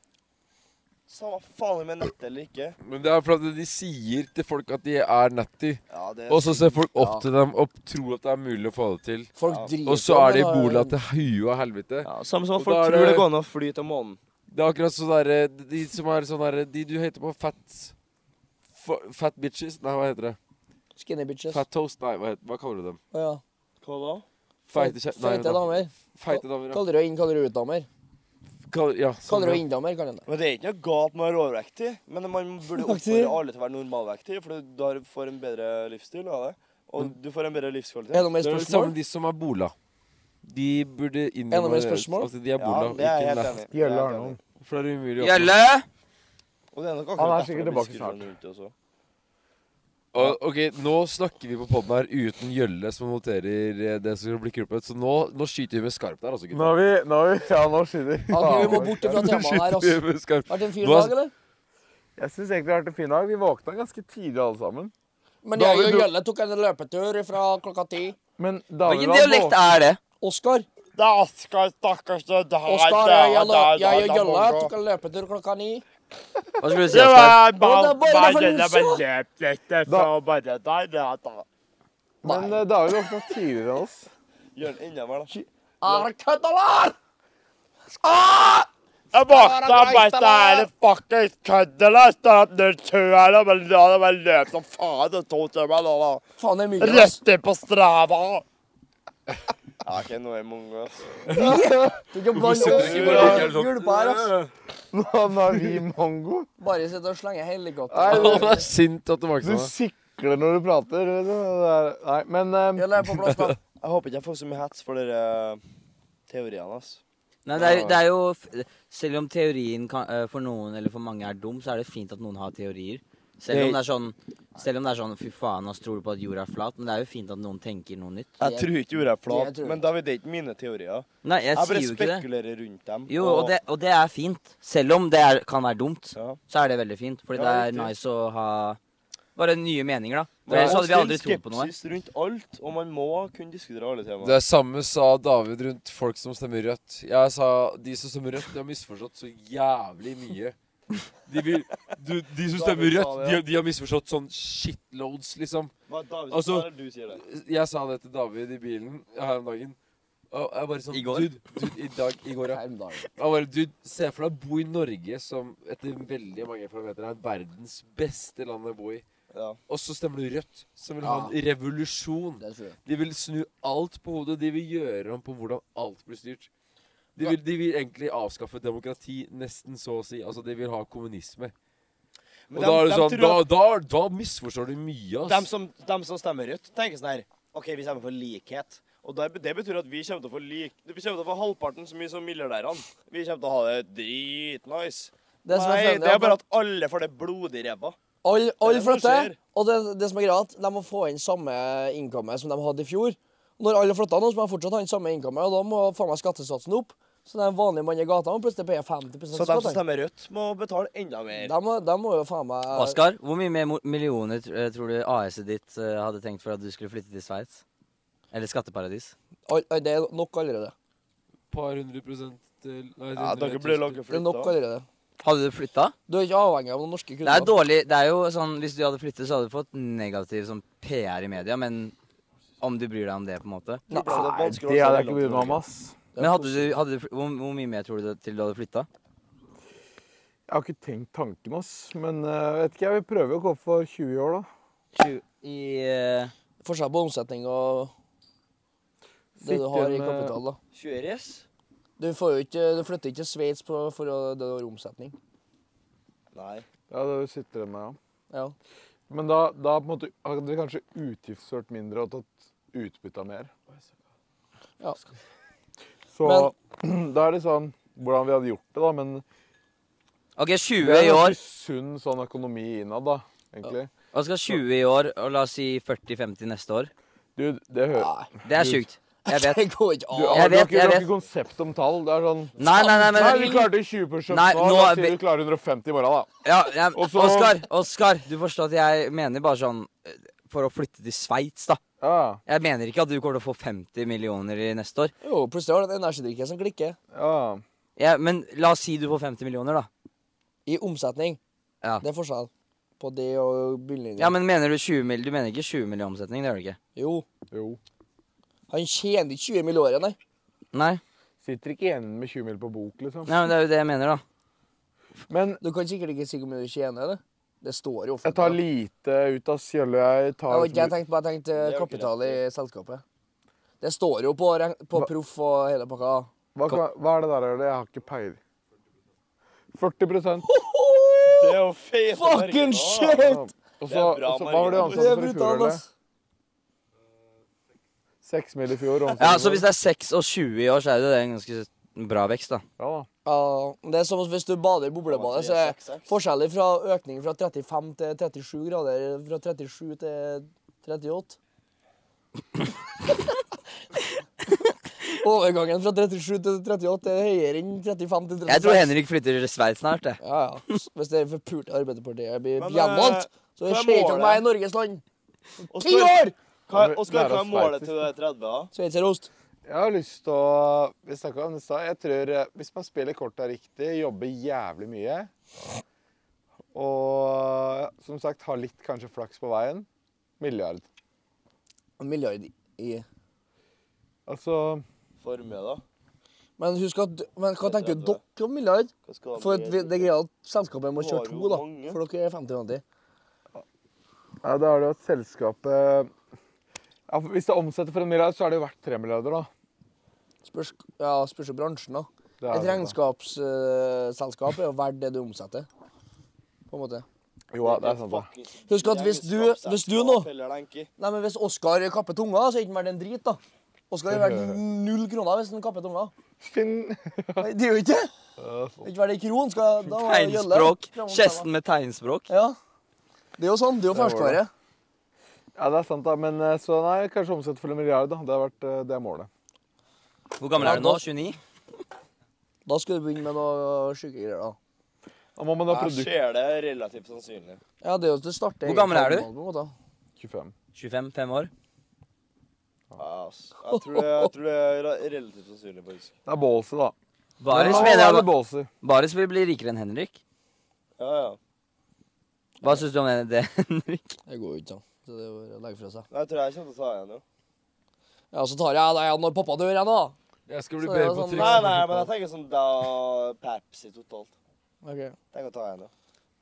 Samme faen om jeg er Natty eller ikke.
Men det er fordi de sier til folk at de er natty,
Ja, det
og så ser folk opp til dem og tror at det er mulig å få det til.
Folk
Ja.
driter
Og så er de i
om det,
bola
da.
til huet og helvete.
ja, Samme som
Og
at folk
da er
tror
det-
det går an å fly til månen.
Det er akkurat sånn derre De som er sånn derre De du heter på fat fa- Fat bitches? Nei, hva heter det?
Skinny bitches.
Fat toast? Nei, hva, heter, hva kaller du dem?
Å, ja.
Hva da?
Feite kje... Nei,
Feite
vent da.
damer.
Feite damer. ja.
Kaller du inn, kaller du ut damer.
Kaller, ja, sånn,
Kaller du
ja.
inn-damer, kaller han det.
Men Det er ikke noe galt med å være overvektig, men man burde
Faktisk.
oppfordre alle til å være normalvektig, for du da får en bedre livsstil av det. Og du får en bedre
Er det
livskvalitet.
noe mer
Det er det samme
spørsmål?
de som er bola. De burde
Er det noe mer
innrømme
spørsmål?
Altså, de er
Ja,
bola,
det er jeg
ikke
helt
natt.
enig i.
Gjølle
Det er jeg helt
Arnold.
enig i.
For det er umulig å oppnå.
Gjølle!
Og det er
Han er
nok
sikkert
akkurat derfor det
tilbake
blir
snart.
skurrende rundt også.
Og, ok, nå snakker vi på podden her uten Gjølle, som noterer eh, det som blir klippet. Så nå, nå skyter vi med skarpt der, altså,
Nå har
gutter.
vi, nå har vi, ja, nå skinner
Ok, vi må
faen.
bort fra temaet her,
Skyter
altså.
vi med skarpt.
Vært en fin
Nå er-
dag, eller?
Jeg syns egentlig det har vært en fin dag. Vi våkna ganske tidlig alle sammen.
Men
Da har
jeg
vi
og
dro-
Gjølle tok en løpetur fra klokka ti.
Men
Hvilken
David var
dialekt
våken.
er det?
Oskar.
Det er Oskar, stakkars det er der,
Oskar,
der,
jeg, og-
der,
eh, jeg
der,
og
der
Gjølle
borte.
tok en løpetur klokka ni.
Hva skulle du si,
Det
Oskar?
var bare
Og det er bare
bare det
for
der løp litt, det
Da-
var bare der, der, der.
Men eh, David våkna tidligere enn <laughs> oss.
Gjør den innover, da.
Er køddalar!
Ah! Jeg våkna bare der, det fuckings kødder, da. Stod under tøet, da, men da det bare løp som faen, det to timer, da, da.
Faen, det er mye. ass.
Rett inn på strava! Ja, ikke noe i mongo, ass.
Du kan bare
sånn?
gulpe her, ass.
Nå er vi mongo.
Bare sitte og slenge helikopter.
Nei,
<laughs> Han er sint at du
Du
våkna.
sikler når du prater. vet du. Det er- Nei, men eh,
Gjølle er på
<laughs>
plass, da.
Jeg håper ikke jeg får så mye hets for dere teoriene, ass.
Nei, det er, det er jo f- Selv om teorien kan, eh, for noen eller for mange er dum, så er det fint at noen har teorier. Selv om det er sånn, selv om det er sånn Fy faen, ass, tror du på at jorda er flat? Men det er jo fint at noen tenker noe nytt.
Jeg tror ikke jorda er
Jeg
flat,
tror det.
men David, det er ikke mine teorier.
Nei, jeg,
Jeg
sier
bare
jo ikke det.
spekulerer rundt dem.
Jo, og det, og det er fint. Selv om det er, kan være dumt,
Ja.
så er det veldig fint. Fordi
Ja,
det er
riktig.
nice å ha Bare nye meninger, da. For ellers hadde vi aldri trodd på noe.
skepsis rundt alt, og man må kunne diskutere alle temaer.
Det er samme sa David rundt folk som stemmer rødt. Jeg sa de som stemmer rødt, de har misforstått så jævlig mye. De, vil, du, de som stemmer
David sa
rødt,
det,
de,
ja.
har- de har misforstått sånn shitloads, liksom.
Hva David
Altså-
altså, du sier det?
Jeg sa det til David i bilen her om dagen. Og jeg bare sånn
I går?
Dude, dude, I dag. I går, ja. Jeg bare, dude, se for deg å bo i Norge, som etter veldig mange parametere er verdens beste land å bo i.
Ja.
Og så stemmer du Rødt, som vil ha en revolusjon.
Det tror jeg.
De vil snu alt på hodet. De vil gjøre om på hvordan alt blir styrt. De vil, de vil egentlig avskaffe demokrati, nesten så å si. Altså, de vil ha kommunisme. Og
Men
da, er
de, de,
det sånn, da,
tror at-
da, da misforstår du mye, ass.
dem som, dem som stemmer rødt, tenker sånn her OK, vi stemmer for likhet. Og der, det betyr at vi kommer til å få lik... Vi kommer til å få halvparten så mye som milliardærene. Vi kommer til å ha det dritnice.
Det som er
Nei,
fett,
det er bare
at
at alle får det blodig ræva.
alle alle
Det er det som
flytter,
skjer.
og det, det som er greia, at de må få inn samme innkommet som de hadde i fjor. Når alle flytter nå, så må de fortsatt ha inn samme innkommet, og da må faen meg skattesatsen opp. Så den vanlige mannen i gata må plutselig paye 50
Så dem som
skatt.
stemmer rødt, må betale enda mer.
De må, de må jo faen meg
Oskar, hvor mye mer mo- millioner tr- eh, tror du AS-et ditt eh, hadde tenkt for at du skulle flytte til Sveits? Eller skatteparadis?
Al- al- Det er nok allerede.
Et par hundre prosent til nei,
Ja, dere
100
blir
tusen.
logget
Det er nok
flytta.
allerede.
Hadde du flytta?
Du er ikke avhengig av noen norske
Det er
kunder.
dårlig Det er jo sånn Hvis du hadde flyttet, så hadde du fått negativ sånn PR i media, men om du bryr deg om det, på en måte.
Nei, det er vanskelig å
Det hadde jeg
forholde
ikke brydd meg om,
til.
ass.
Men hadde du, hadde du fly- hvor, hvor mye mer tror du det- til du hadde flytta?
Jeg har ikke tenkt tanken, ass. Men eh, vet ikke, jeg vil prøve å gå for 20 år, da.
I eh,
Forskjell på omsetning og det du
Sitt
har i
igjen med-
kapital, da.
20 res?
Du, får jo ikke, du flytter ikke til Sveits på- for å- det du har i omsetning.
Nei.
Ja, det sitter det med, ja.
Ja.
Men da, da på en måte hadde vi kanskje utgiftsført mindre og tatt utbytte av mer.
Ja.
Så <clears throat> da er det sånn hvordan vi hadde gjort det, da. Men
OK, 20
det er
i år.
ganske sunn sånn økonomi innad, da. Egentlig.
Og skal 20 i år, og la oss si 40-50 neste år.
Du, det hører
Det er sjukt. Jeg vet.
Det går ikke an.
Du har, du
Jeg
har
vet,
ikke,
jeg
du har
vet.
ikke konsept om tall. Det er sånn
Nei, nei, nei,
Nei, vi
men
klarte 20 pushups
Nei,
nå.
nå
Da
er vi-
sier du klarer 150 i morgen, da.
ja, ja,
<laughs> Og så-
Oskar, Oskar, du forstår at jeg mener bare sånn eh, For å flytte til Sveits, da.
Ja,
Jeg mener ikke at du kommer til å få 50 millioner i neste år.
Jo, plutselig har du en energidrikke som klikker.
ja.
Ja, men la oss si du får 50 millioner, da.
I omsetning.
Ja.
Det er forskjell på det og bunnlinja.
Ja, men mener du 20 mill.? Du mener ikke 20 mill. i omsetning, det gjør du ikke?
Jo,
Jo.
han tjener ikke 20 mill. i året, nei.
Nei?
Sitter ikke igjen med 20 mil på bok, liksom.
Nei, men det er jo det jeg mener, da.
Men
Du kan sikkert ikke si hvor mye du tjener, eller? Det står jo
jeg tar
da.
lite ut av Sjølle. Jeg
Det
tar
var ikke jeg tenkte på, jeg tenkte
er jo ikke
kapital i selskapet. Det står jo på, reg- på
Hva-
proff og hele pakka.
Hva, kan- hva er det der, Jørgen? Jeg har ikke peiling. 40
Det er jo feite
Fucking
merker, da.
shit!
Og
Det
så,
er bra,
og så hva var sånn det
Margrethe.
Det er
ansatte for i fjor,
brutalt,
eller?
ass.
Seks mil i fjor.
Ja, så hvis det er 6 og 20 i år, så er det jo det en ganske bra vekst, da.
ja, da.
Ja, det er som hvis du bader i boblebadet, så er
366.
forskjellen fra økning fra 35 til 37 grader Fra 37 til 38. Overgangen fra 37 til 38 er høyere enn 35 til 36.
Jeg tror Henrik flytter til Sveits snart, jeg.
Ja, ja. Hvis det forpulte Arbeiderpartiet blir
Men, eh,
gjenvalgt, så
hva er
skjer det ikke om
målet?
jeg er Norges land. Ti
Oskar,
år!
hva
Ja, men
Oskar,
lære
hva er
oss
målet
faktisk.
til du er 30? da?
Sveitserost.
Jeg har lyst til å Vi snakket om det i stad. Jeg tror eh, hvis man spiller korta riktig, jobber jævlig mye Og ja, som sagt har litt kanskje flaks på veien Milliard.
En milliard i
Altså
Formue, da?
Men husk at Men hva tenker
30.
dere om milliard?
Hva skal det
For at
bli?
vi, det er greia at selskapet må kjøre
Har jo
to, da.
mange.
For dere er 50-50.
ja, Da er det jo at selskapet ja, for Hvis det omsetter for en milliard, så er det jo verdt tre milliarder, da.
Spørs, ja, spørs jo bransjen, da.
Det er
Et
det, da.
regnskapsselskap er jo verdt det du omsetter. På en måte.
Jo, ja, det er sant, da.
Husk at hvis du, hvis du nå Nei, men hvis Oskar kapper tunga, så er det ikke verdt en drit, da. Oskar er verdt null kroner hvis han kapper tunga.
Finn.
Nei, Det er jo ikke det! Det er Ikke verdt ei kron. Skal, da må jeg gjølle.
Tegnspråk.
Fram og tilbake.
Kjesten med tegnspråk.
Ja. Det er jo sånn. Det er jo
Det var det.
ferskvare.
Ja, det er sant, da. Men eh, så nei, kanskje omsette for en milliard, da. Det, har vært, eh, det er målet.
Hvor gammel er du nå? 29?
Da skal du begynne med noe sjuke greier, da.
Da må man ha
Jeg
produkt
ser det relativt sannsynlig.
Ja, det er jo det starter
Hvor gammel er du?
På en måte.
25.
25? 5 år?
Ja, ass. Jeg tror det, jeg tror det er re- relativt sannsynlig, faktisk.
Det er bålse, da.
Baris
Ja,
mener
det er
jeg
bålse.
Baris vil bli rikere enn Henrik.
Ja, ja.
Hva syns du om det, Henrik?
Det går jo ikke, da. Så det er jo å legge fra seg.
Nei, Jeg tror jeg kommer til å ta igjen, jo.
Ja, så tar jeg deg igjen når pappa dør igjen, da.
Jeg skal bli
Så
bedre
det var
på
sånn-
triks.
Nei, nei, men jeg tenker sånn da Pepsi totalt.
Okay.
Tenk å ta igjen, jo.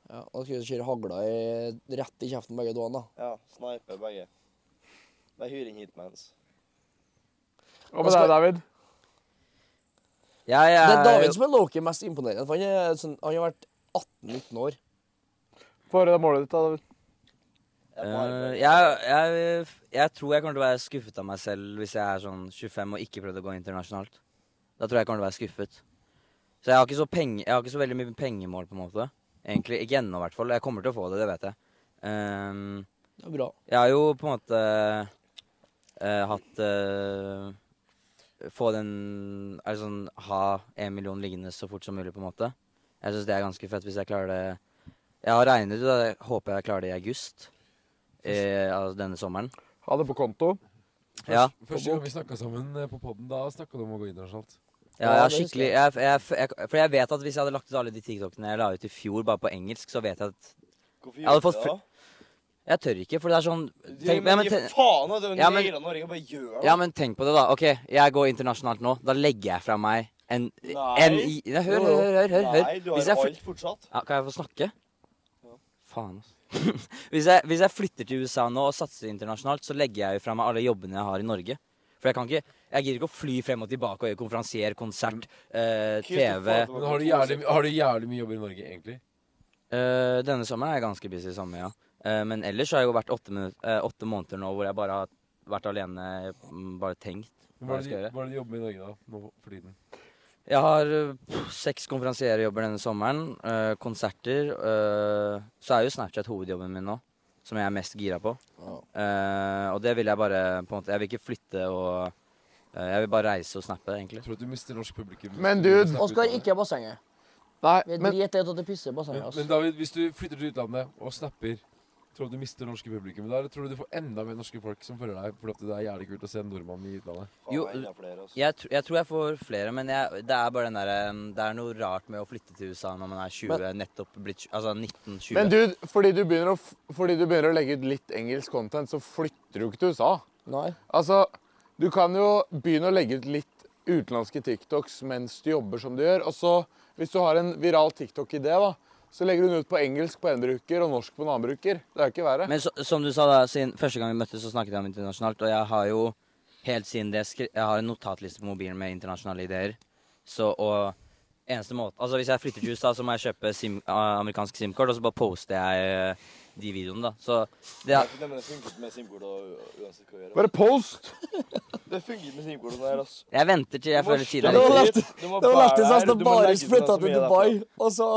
Ja, da skal vi kjøre hagla i, rett i kjeften begge to, da.
Ja, snipe begge. Bare hyr inn hitmans.
Hva med deg, David?
Jeg
Det
er
er David som er Loki mest imponerende. For han, er, sånn, han har vært 18-19 år.
Få høre det målet ditt, da, David.
Jeg
Øh,
bare-
jeg, jeg, jeg tror jeg kommer til å være skuffet av meg selv hvis jeg er sånn 25 og ikke prøvde å gå internasjonalt. Da tror jeg jeg kommer til å være skuffet. Så jeg har ikke så, penge, jeg har ikke så veldig mye pengemål, på en måte. Egentlig, Ikke ennå, i hvert fall. Jeg kommer til å få det, det vet jeg. Ehm,
Det er bra.
jeg har jo på en måte eh, hatt eh, Få den Altså sånn ha en million liggende så fort som mulig, på en måte. Jeg syns det er ganske fett hvis jeg klarer det Jeg har regnet ut, og jeg håper jeg klarer det i august. Eh, altså denne sommeren.
Ha det på konto.
Ja.
Første gang vi snakka sammen eh, på poden, da snakka du om å gå internasjonalt.
Ja, jeg
Ja,
har
det husker
skikkelig jeg, jeg, jeg, For jeg vet at hvis jeg hadde lagt ut alle de TikTokene jeg la ut i fjor, bare på engelsk, så vet jeg at
Hvorfor
Jeg hadde
gjorde du
fått
det,
fl-
da?
Jeg tør ikke, for det er sånn
Du,
tenk, ja,
men
men,
gi
ten,
faen at du
Ja, men-
nailer Norge og bare gjør det.
ja, men tenk på det, da. OK, jeg går internasjonalt nå. Da legger jeg fra meg en, en i- ja, Hør, hør, hør. hør, hør, hør.
Nei, du
Hvis
har
jeg fly-
alt fortsatt.
ja, Kan jeg få snakke? Faen, altså. <laughs> hvis, jeg, hvis jeg flytter til USA nå og satser internasjonalt, så legger jeg jo fra meg alle jobbene jeg har i Norge. For jeg kan ikke Jeg gidder ikke å fly frem og tilbake og gjøre konferansier, konsert, eh, TV
Kristoffer,
Men har du jævlig, har du jævlig mye jobber i Norge, egentlig?
Eh, denne sommeren er jeg ganske busy samme, ja. Eh, men ellers har jeg jo vært åtte, minu- eh, åtte måneder nå hvor jeg bare har vært alene, mm, bare tenkt
Hva
hva
er
jeg skal
det
gjøre.
du- hva er det du jobber med i Norge, da? Nå for tiden?
Jeg har eh, pff, seks konferansierjobber denne sommeren, eh, konserter. eh, så er jo Snapchat hovedjobben min nå, som jeg er mest gira på. Eh, og det vil jeg bare på en måte, Jeg vil ikke flytte og eh, Jeg vil bare reise og snappe, egentlig.
Jeg tror at du mister norsk publikum. hvis
Men
du
dude-
snapper
Oskar,
ut av det.
ikke bassenget.
Nei,
Vi
men
driter i at det pisser i bassenget.
Men,
ass.
men David, hvis du flytter til utlandet og snapper, tror du at du mister norske publikum da? Eller tror du du får enda mer norske folk som følger deg fordi det er jævlig kult å se en nordmann i utlandet?
Jo,
Faen, enda flere, altså.
Jeg, tr jeg tror jeg får flere, men jeg, det er bare den der, um, Det er noe rart med å flytte til USA når man er 20, nettopp blitt tj- Altså 19-20.
Men dude, fordi du, begynner å, f- fordi du begynner å legge ut litt engelsk content, så flytter du ikke til USA.
Nei.
Altså, du kan jo begynne å legge ut litt utenlandske TikToks mens du jobber som du gjør, og så, hvis du har en viral TikTok-idé, da, så legger du den ut på engelsk på en bruker og norsk på en annen bruker. Det er jo ikke verre.
Men så, som du sa, da, siden første gang vi møttes, så snakket jeg om internasjonalt. Og jeg har jo helt siden det skri Jeg har en notatliste på mobilen med internasjonale ideer. Så, og eneste måte Altså hvis jeg flytter til USA, så må jeg kjøpe sim eh, amerikansk SIM-kort, og så bare poster jeg eh, de videoene, da. Så det
Nei,
er
for Det men det funker ikke med SIM-kort og- og uansett hva du gjør.
Bare post!
ass. Det funker ikke med SIM-kort og sånn her, ass.
Jeg venter til jeg føler tiden
Det
er
var
riktig.
lett- Det var lettest at det bare
sånn
flytta til Dubai, Sånn og så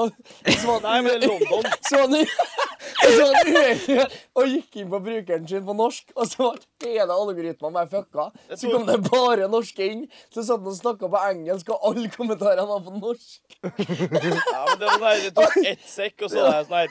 så var
Nei,
han
men London
så var han- og <laughs> så var han uheldig og gikk inn på brukeren sin på norsk, og så ble hele algoritmen bare fucka. Så kom det bare norske inn. Så satt han og snakka på engelsk, og alle kommentarene var på norsk.
Ja, men det var sånn her, det tok ett sekk, og så var jeg sånn her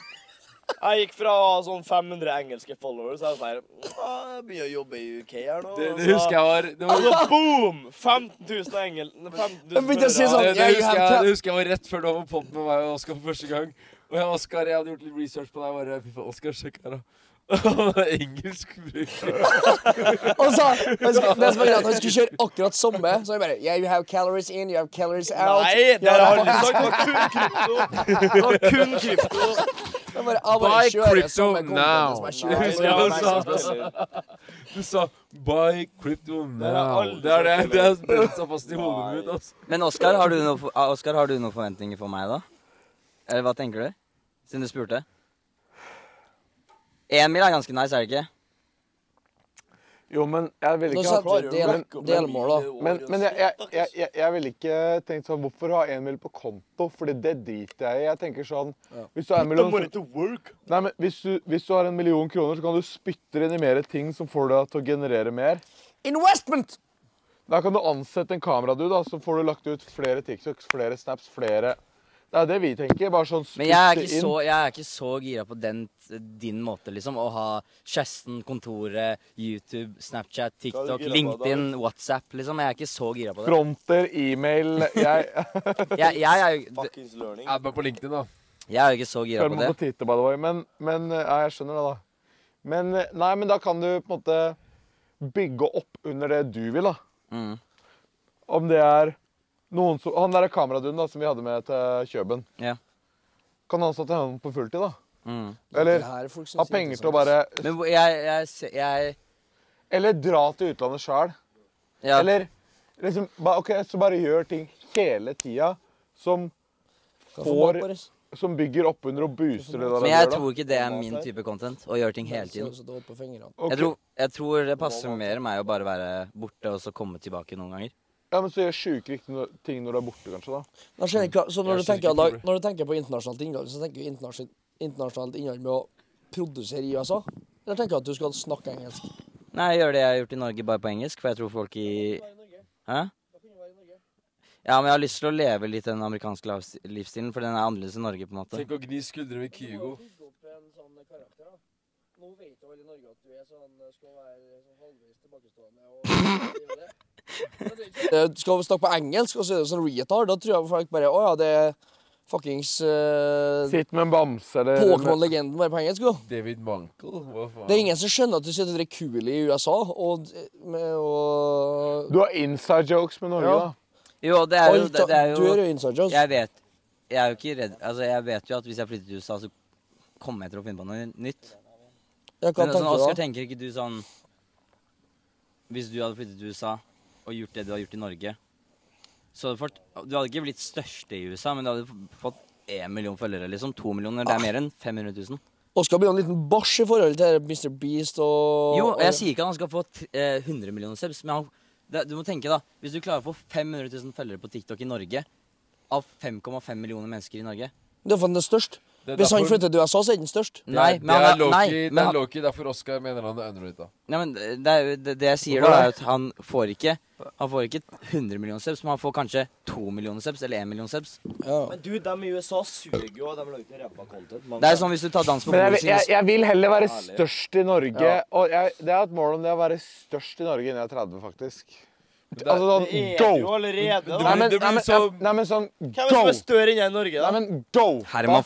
Jeg gikk fra sånn 500 engelske followers, så jeg var sånn her «Å, Jeg begynner å jobbe i UK her nå.
Det, det husker jeg var det var,
Og så boom! 15 000 engel... 15 000
Jeg begynte å si sånn,
det, det,
jeg
husker
har
jeg,
cap-
det husker jeg var rett før du var på podden med meg og Oskar for første gang. Og jeg, Oskar, jeg hadde gjort litt research på deg. og Bare, Fy faen, Oskar, sjekk her, da. <laughs> Han er engelsk bruker.
Og så han skulle- Det som var greit, han skulle kjøre akkurat samme, så han bare Yeah, you have calories in, you have calories out.
Nei, det har jeg aldri sagt. Det var kun krypto. Det var kun krypto.
Jeg bare, jeg bare
Buy
kjører
crypto
samme content
now. altså.
som jeg
Nei,
kjører.
det var meg
sånn.
som
sa-
spiller.
Du sa 'buy crypto now'.
aldri
Det er sånn. det.
sagt
Det er brent seg fast i hodet mitt. altså.
Men Oskar, har, du noe for- ah, Oskar, har du noen forventninger for meg, da? Eller hva tenker du? Siden du spurte. Én mil er ganske nice, er det ikke?
Jo, men jeg ville
Nå
ikke
setter du del, delmål, da.
Men, men jeg, jeg, jeg, jeg, jeg ville ikke tenkt sånn Hvorfor ha en mil på konto? Fordi det driter jeg i. Jeg tenker sånn Hvis du har en million så- Nei, men hvis du, hvis du har en million kroner, så kan du spytte inn i mer ting som får deg til å generere mer.
Investment!
Da kan du ansette en kamera, du, da, så får du lagt ut flere TikToks, flere snaps, flere Det er det vi tenker. Bare sånn
Men jeg er,
spytte
ikke
inn.
så, jeg er ikke så gira på den, din måte, liksom. Å ha kjæresten, kontoret, YouTube, Snapchat,
Hva er
TikTok,
du gira på,
LinkedIn, WhatsApp, liksom. Jeg er ikke så gira på det.
Fronter,
<laughs>
e-mail Jeg
Jeg, jeg, er, jo-
Fuckings learning.
Add meg på LinkedIn, da.
jeg er jo ikke så gira
føler
på
meg
det.
på Twitter, by the way. Men, men eh, ja, jeg skjønner det, da. Men eh, nei, men da kan du på en måte bygge opp under det du vil, da.
Mm.
Om det er noen som Han derre kameraduden da, som vi hadde med til Kjøben.
Ja.
Kan han stå til hånden på fulltid, da?
Mm.
Eller
Det her folk synes
ha
er sånn.
penger til å
interessant.
bare
Men hvor- jeg, jeg, se- jeg
Eller dra til utlandet sjøl.
ja.
Eller liksom ba, OK, så bare gjør ting hele tida som
Hva
får-
bak, Boris?
som bygger opp under og booster det der.
Men
du
jeg
gjør, da.
tror ikke det er min type content, å gjøre ting hele tiden.
Så- så det holdt på fingrene.
Ok,
Jeg tror, jeg tror det passer mer meg å bare være borte og så komme tilbake noen ganger.
Ja, men Så gjør sjuke riktige no- ting når du er borte, kanskje. da.
Da skjønner jeg ikke hva- så når,
Mm. Jeg
du
skjønner
tenker,
ikke
da,
hvor-
når du tenker på internasjonalt innhold, så tenker du internasjonalt, internasjonalt innhold med å produsere i USA? Eller tenker du at du skal snakke engelsk?
Nei, jeg gjør det jeg har gjort i Norge, bare på engelsk, for jeg tror folk i Hæ? Ja, men jeg har lyst til å leve litt den amerikanske lavs- livsstilen, for den er annerledes i Norge, på en måte.
Tenk å gni skuldrene med Kygo.
sånn Nå vet jo alle i Norge at du er sånn, skal være sånn halvveis tilbakestående <laughs> og det. Skal vi snakke på engelsk, og så er det sånn retard, da tror jeg folk bare Å ja, det er fuckings
Altså,
eh,
Sitt med en bamse eller
Pokémon-legenden bare på engelsk, jo.
David Mankel. Hva faen?
Det er ingen som skjønner at du sitter og drikker Cooley i USA, og, med, og
Du har inside jokes med Norge,
Ja.
da.
Jo, det er jo,
Alt
det, det er
Du er
jo
jo inside jokes.
Jeg vet Jeg er jo ikke redd Altså, jeg vet jo at hvis jeg flytter til USA, så kommer jeg til å finne på noe nytt.
Jeg kan
Men sånn,
tenke
Oskar,
det.
tenker ikke du sånn Hvis du hadde flyttet til USA og gjort det du har gjort i Norge så hadde du, fått, du hadde ikke blitt største i USA, men du hadde f- fått én million følgere. liksom. To millioner,
Ah.
det er mer enn 500 000.
Oskar blir jo en liten bæsj i forhold til Mr. Beast og
Jo, og jeg
og-
sier ikke at han skal få t- eh, 100 millioner subs, men han, det, du må tenke, da. Hvis du klarer å få 500 000 følgere på TikTok i Norge, av 5,5 millioner mennesker i Norge
Det er for den er størst.
Det er
Hvis han
derfor-
flytter til USA, så er den størst. Sånn,
Det er-
Nei, men han
det er
er, nei,
Loki-
men
Det er
han,
Loki, derfor Oscar mener han er underrated.
Nei, men det, er, jo- det, det jeg sier da, er at han får ikke Han får ikke 100 millioner subs, men han får kanskje 2 millioner subs, eller 1 million subs.
Ja.
Men du, dem i USA suger jo, og de lager ikke ræva content. mange
Det er
av
som hvis du sånn- tar dans på
Men jeg,
bordet
vil- jeg, jeg vil heller være
Ærlig.
størst i Norge.
Ja.
Og jeg, det er et mål om det å være størst i Norge innen jeg er 30, faktisk.
det er-
Altså sånn
dem. Det er jo
go!
allerede, da.
Nei, men,
det blir
nei, men,
så-
nei, men sånn
Hvem er det som
go!
er større enn jeg i Norge,
Nei,
da?
men go!
Herman
Sånn,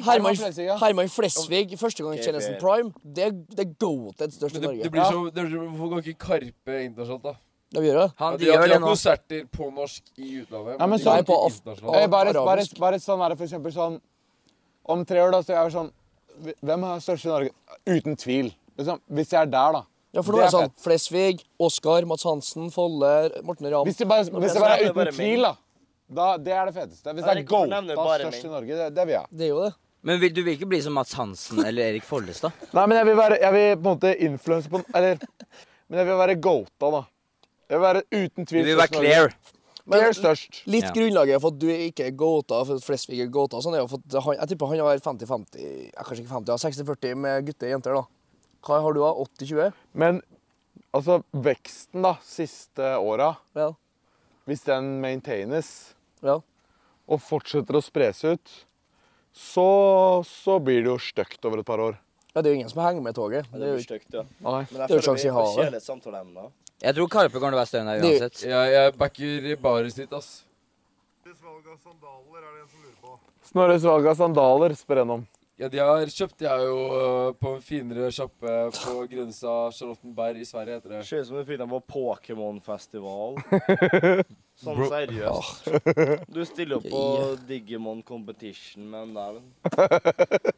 Herman,
Herman Flesvig, ja.
Herman Flesvig, første gang i
Ok,
Tjenesten
fair.
Prime, det, det er goated størst i
Men det,
Norge.
det blir
Ja.
så, det, Hvorfor kan ikke Karpe internasjonalt, da?
Det gjør det.
Han,
Ja, de,
de
har-
gjør
de
det
har
nå.
konserter på norsk i utlandet.
Nei, men
de
så-
går
Nei,
ikke
på
internasjonalt.
Eh, Bare, bare,
Arabisk.
bare sånn er det for eksempel sånn Om tre år, da, så er jeg sånn Hvem er størst i Norge? Uten tvil. Liksom, hvis jeg er der, da.
Ja, for nå
Det
er
er
det sånn Flesvig, Oskar, Mats Hansen, Folle, Morten Ramm
Hvis det bare, hvis det bare
det
er
er bare
uten tvil, da. da. Det er det feteste. Hvis det er
Erik,
go,
hvorfor
da
nevner du
er
bare
størst
menn?
i Norge. Det, det vil jeg.
Det er jo det.
Men vil, du vil ikke bli som Mats Hansen eller Erik Follestad?
Nei, men jeg vil være Jeg vil på en måte influense på Eller Men jeg vil være goata, da. Jeg vil være uten
Du
tvil
vil være
størst i Norge.
clear.
Clear størst.
Litt
Ja.
grunnlaget for at du ikke er goata, for at Flesvig er goata, og sånn er jo for at han, jeg tipper han har 50-50, ja, kanskje ikke 50, ja, 60-40 med gutter og jenter, da. Hva har du da? 80-20?
Men altså, veksten, da, siste åra,
Ja.
hvis den maintaines
ja.
og fortsetter å spres ut, så, så blir det jo stygt over et par år.
Ja, det er jo ingen som henger med toget.
Ja,
Det er jo,
stygt, ja.
Nei.
Det
Men jeg
er jo
føler vi
sjanse i
er på
havet.
kjedelige samtaleemner.
Jeg tror Karpe kommer til å være større enn deg
Det-
uansett.
Jeg, jeg backer Baris ditt, ass.
Valg av sandaler er det en som lurer på.
Snorres valg av sandaler spør en om.
Ja, de har kjøpt de er jo øh, på en finere sjappe på grensa Charlottenberg i Sverige, heter det.
Ser ut som det fikk dem på Pokémon-festival. Sånn seriøst. Du stiller opp på Digimon Competition med den der. Det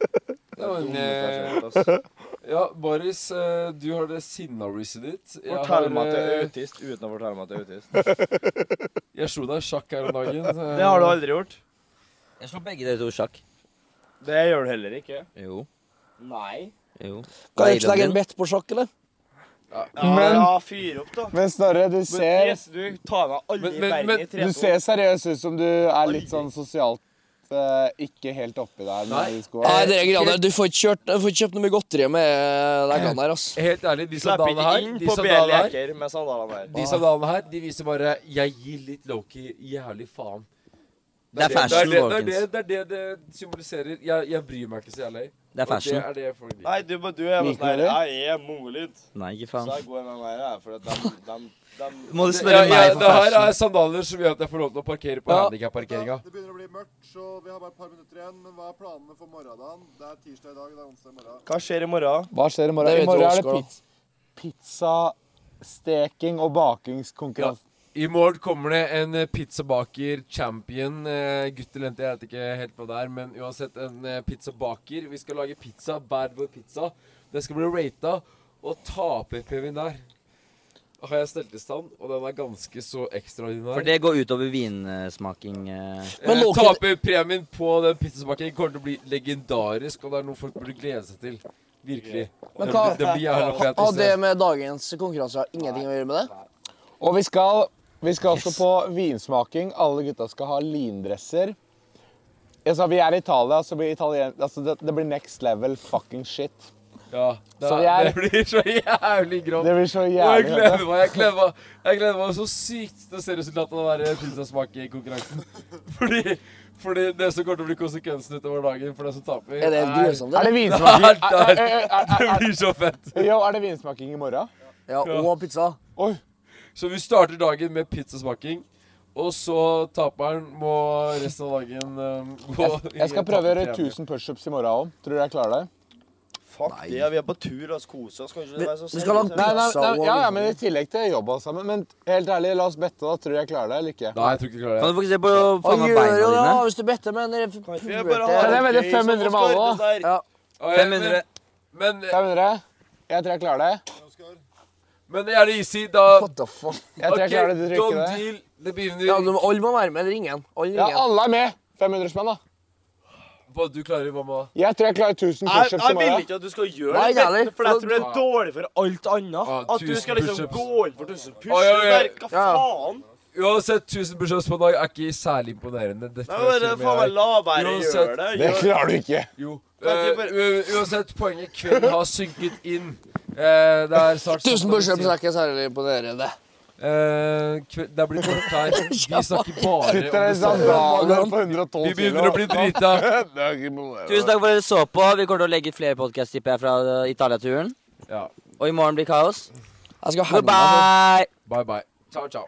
Ja,
er
men,
dumme
eh,
personer, ass.
ja, Baris, øh, du har det sinna-riset ditt. Jeg
Fortell
har,
meg at jeg
øh,
er autist uten å fortelle meg at jeg er autist.
Jeg slo deg i sjakk her om dagen. øh,
Det har du aldri gjort.
Jeg slår begge dere to i sjakk.
Det gjør du heller ikke.
Jo.
Nei.
Jo.
kan jeg ikke legge en bet på sjakk, eller?
Ja,
Men-
ja fyr opp, da.
Men Snorre, du
Men
ser,
Therese, du tar meg aldri
Men-
i
men-
verden
men-
i
du
3-2.
ser seriøs ut som du er litt sånn sosialt eh, ikke helt oppi der.
Nei.
Med de skoene.
Nei, det er greia der. Du får ikke kjørt, du får ikke kjøpt noe mye godteri med leggene her, ass.
Helt ærlig, de
Slipp
sandalene
ikke
her,
inn
de
på bedre
sandalene her,
leker med sandalene der.
de sandalene her, de viser bare Jeg gir litt Loki jævlig faen.
Det er fashion,
det, det,
folkens.
er det, det, er det det symboliserer. Jeg, jeg bryr meg ikke så jævlig.
Det er fashion.
Og det er det folk liker.
Nei, du, du er bare
Liker du
sånn
det?
her Jeg er mongolid.
Nei, ikke
Så
faen.
jeg går med meg her, for at dem, dem, dem
Må du
Ja,
spørre
ja,
meg for
det her
fashion?
er sandaler som gjør at jeg får lov til å parkere på
Ja.
handikapparkeringa.
Det begynner å bli mørkt, så vi har bare et par minutter igjen. Men hva er planene for morgendagen? Det er tirsdag i dag, det er onsdag i morgen.
Hva skjer i morgen?
Hva skjer i morgen?
Det vet
I morgen
jo
er det
Oskar, da.
pizza, pizzasteking og bakingskonkurranse.
I morgen kommer det en eh, pizzabaker champion. eh, Gutt eller jente, jeg vet ikke helt hva det er, men uansett en eh, pizzabaker. Vi skal lage pizza, Bad Boy Pizza. Den skal bli rata, og taperpremien der har jeg stelt i stand, og den er ganske så ekstraordinær.
For det går utover vinsmaking. eh.
Eh,
Men lå ikke
Taperpremien på den pizzabakeren kommer til å bli legendarisk, og det er noe folk burde glede seg til. Virkelig.
Men
det,
hva-
blir- det blir jævla altså. fet.
Har
hvis
det
det-
med dagens konkurranse har ingenting å gjøre med det?
Og vi skal, vi skal også på vinsmaking. Alle gutta skal ha lindresser. Jeg sa, vi er i Italia, så blir italien, altså det, det blir next level fucking shit.
Ja, det,
Så
er-
jeg-
<laughs> det blir så jævlig grovt.
Det blir så
Og jeg
jævlig.
gleder meg jeg gleder meg, jeg gleder meg så sykt til å se resultatet av den der pizzasmakekonkurransen. Fordi, fordi det som kommer til å bli konsekvensen utover dagen for den som taper
Er det helt
<laughs>
grusomt?
Er
det?
det <laughs> vinsmaking?
er-
Er-
er-
er- er-
Det blir så fett.
Jo, er det vinsmaking i morgen?
Ja, og pizza.
Så vi starter dagen med pizzasmaking. Og så taperen må resten av dagen um, gå
Jeg, jeg skal prøve å gjøre 1000 pushups i morgen òg. Tror du jeg klarer det?
Fuck det, vi er på tur og koser oss. Kanskje
Vi-
det er så
vi skal langt-
seriøst.
Nei, nei, nei,
Pizza og-
ja, ja, men I tillegg til jobb og sammen. Men helt ærlig, la oss bette, da. Tror du jeg klarer det eller ikke?
Nei, jeg tror ikke jeg klarer
Kan
det.
du fokusere på faen
Han
meg
gjør jo
beina
det, da,
dine?
hvis du bedte med en
Vi er
Ja,
bare
det er
pulerte.
vel- veldig
gøy som
500 med alle, da.
Oskar, det der.
Ja.
Og jeg-
500.
Men, men,
500? Jeg tror jeg klarer det.
men er det easy, da
What the fuck?
Jeg tror jeg klarer det. Du tror
Don
ikke det?
Deal, det begynner
Ja, du, må- alle må være med, eller ingen. Alle eller
Ja,
ingen.
alle er med. 500 spenn, da.
Hva du klarer, mamma.
Jeg tror jeg klarer 1000
Jeg,
pushups i
jeg vil
morgen.
ikke at du skal gjøre
Nei,
det,
jævlig.
for jeg tror det er dårlig for alt annet.
Ah,
At du skal
1000
liksom
pushups.
gå inn for 1000
Ah,
pushups
ja, ja.
der. Hva
Ja.
faen?
Uansett, 1000 pushups på en dag er ikke særlig imponerende. Dette
Nei, bare
skjer med
faen meg la være å
Uansett.
gjøre det.
Det
Gjør-
klarer du ikke.
Jo.
Jeg
Eh,
tipper-
u- uansett, poenget kvelden har synket inn. Eh, det er snart
1000 pushups er ikke særlig imponerende.
Eh, kve- Det er blitt mørkt her.
<laughs>
Vi snakker bare om
Sitter der
det
i
samme.
sandaler på 112
Vi begynner å bli drita.
Det er ikke noe
Tusen takk for at dere så på. Vi kommer til å legge ut flere podkast, tipper jeg, fra eh, Italia-turen.
Ja.
Og i morgen blir kaos.
Jeg skal henge meg.
Goodbye!
Bye, bye. Ciao, ciao.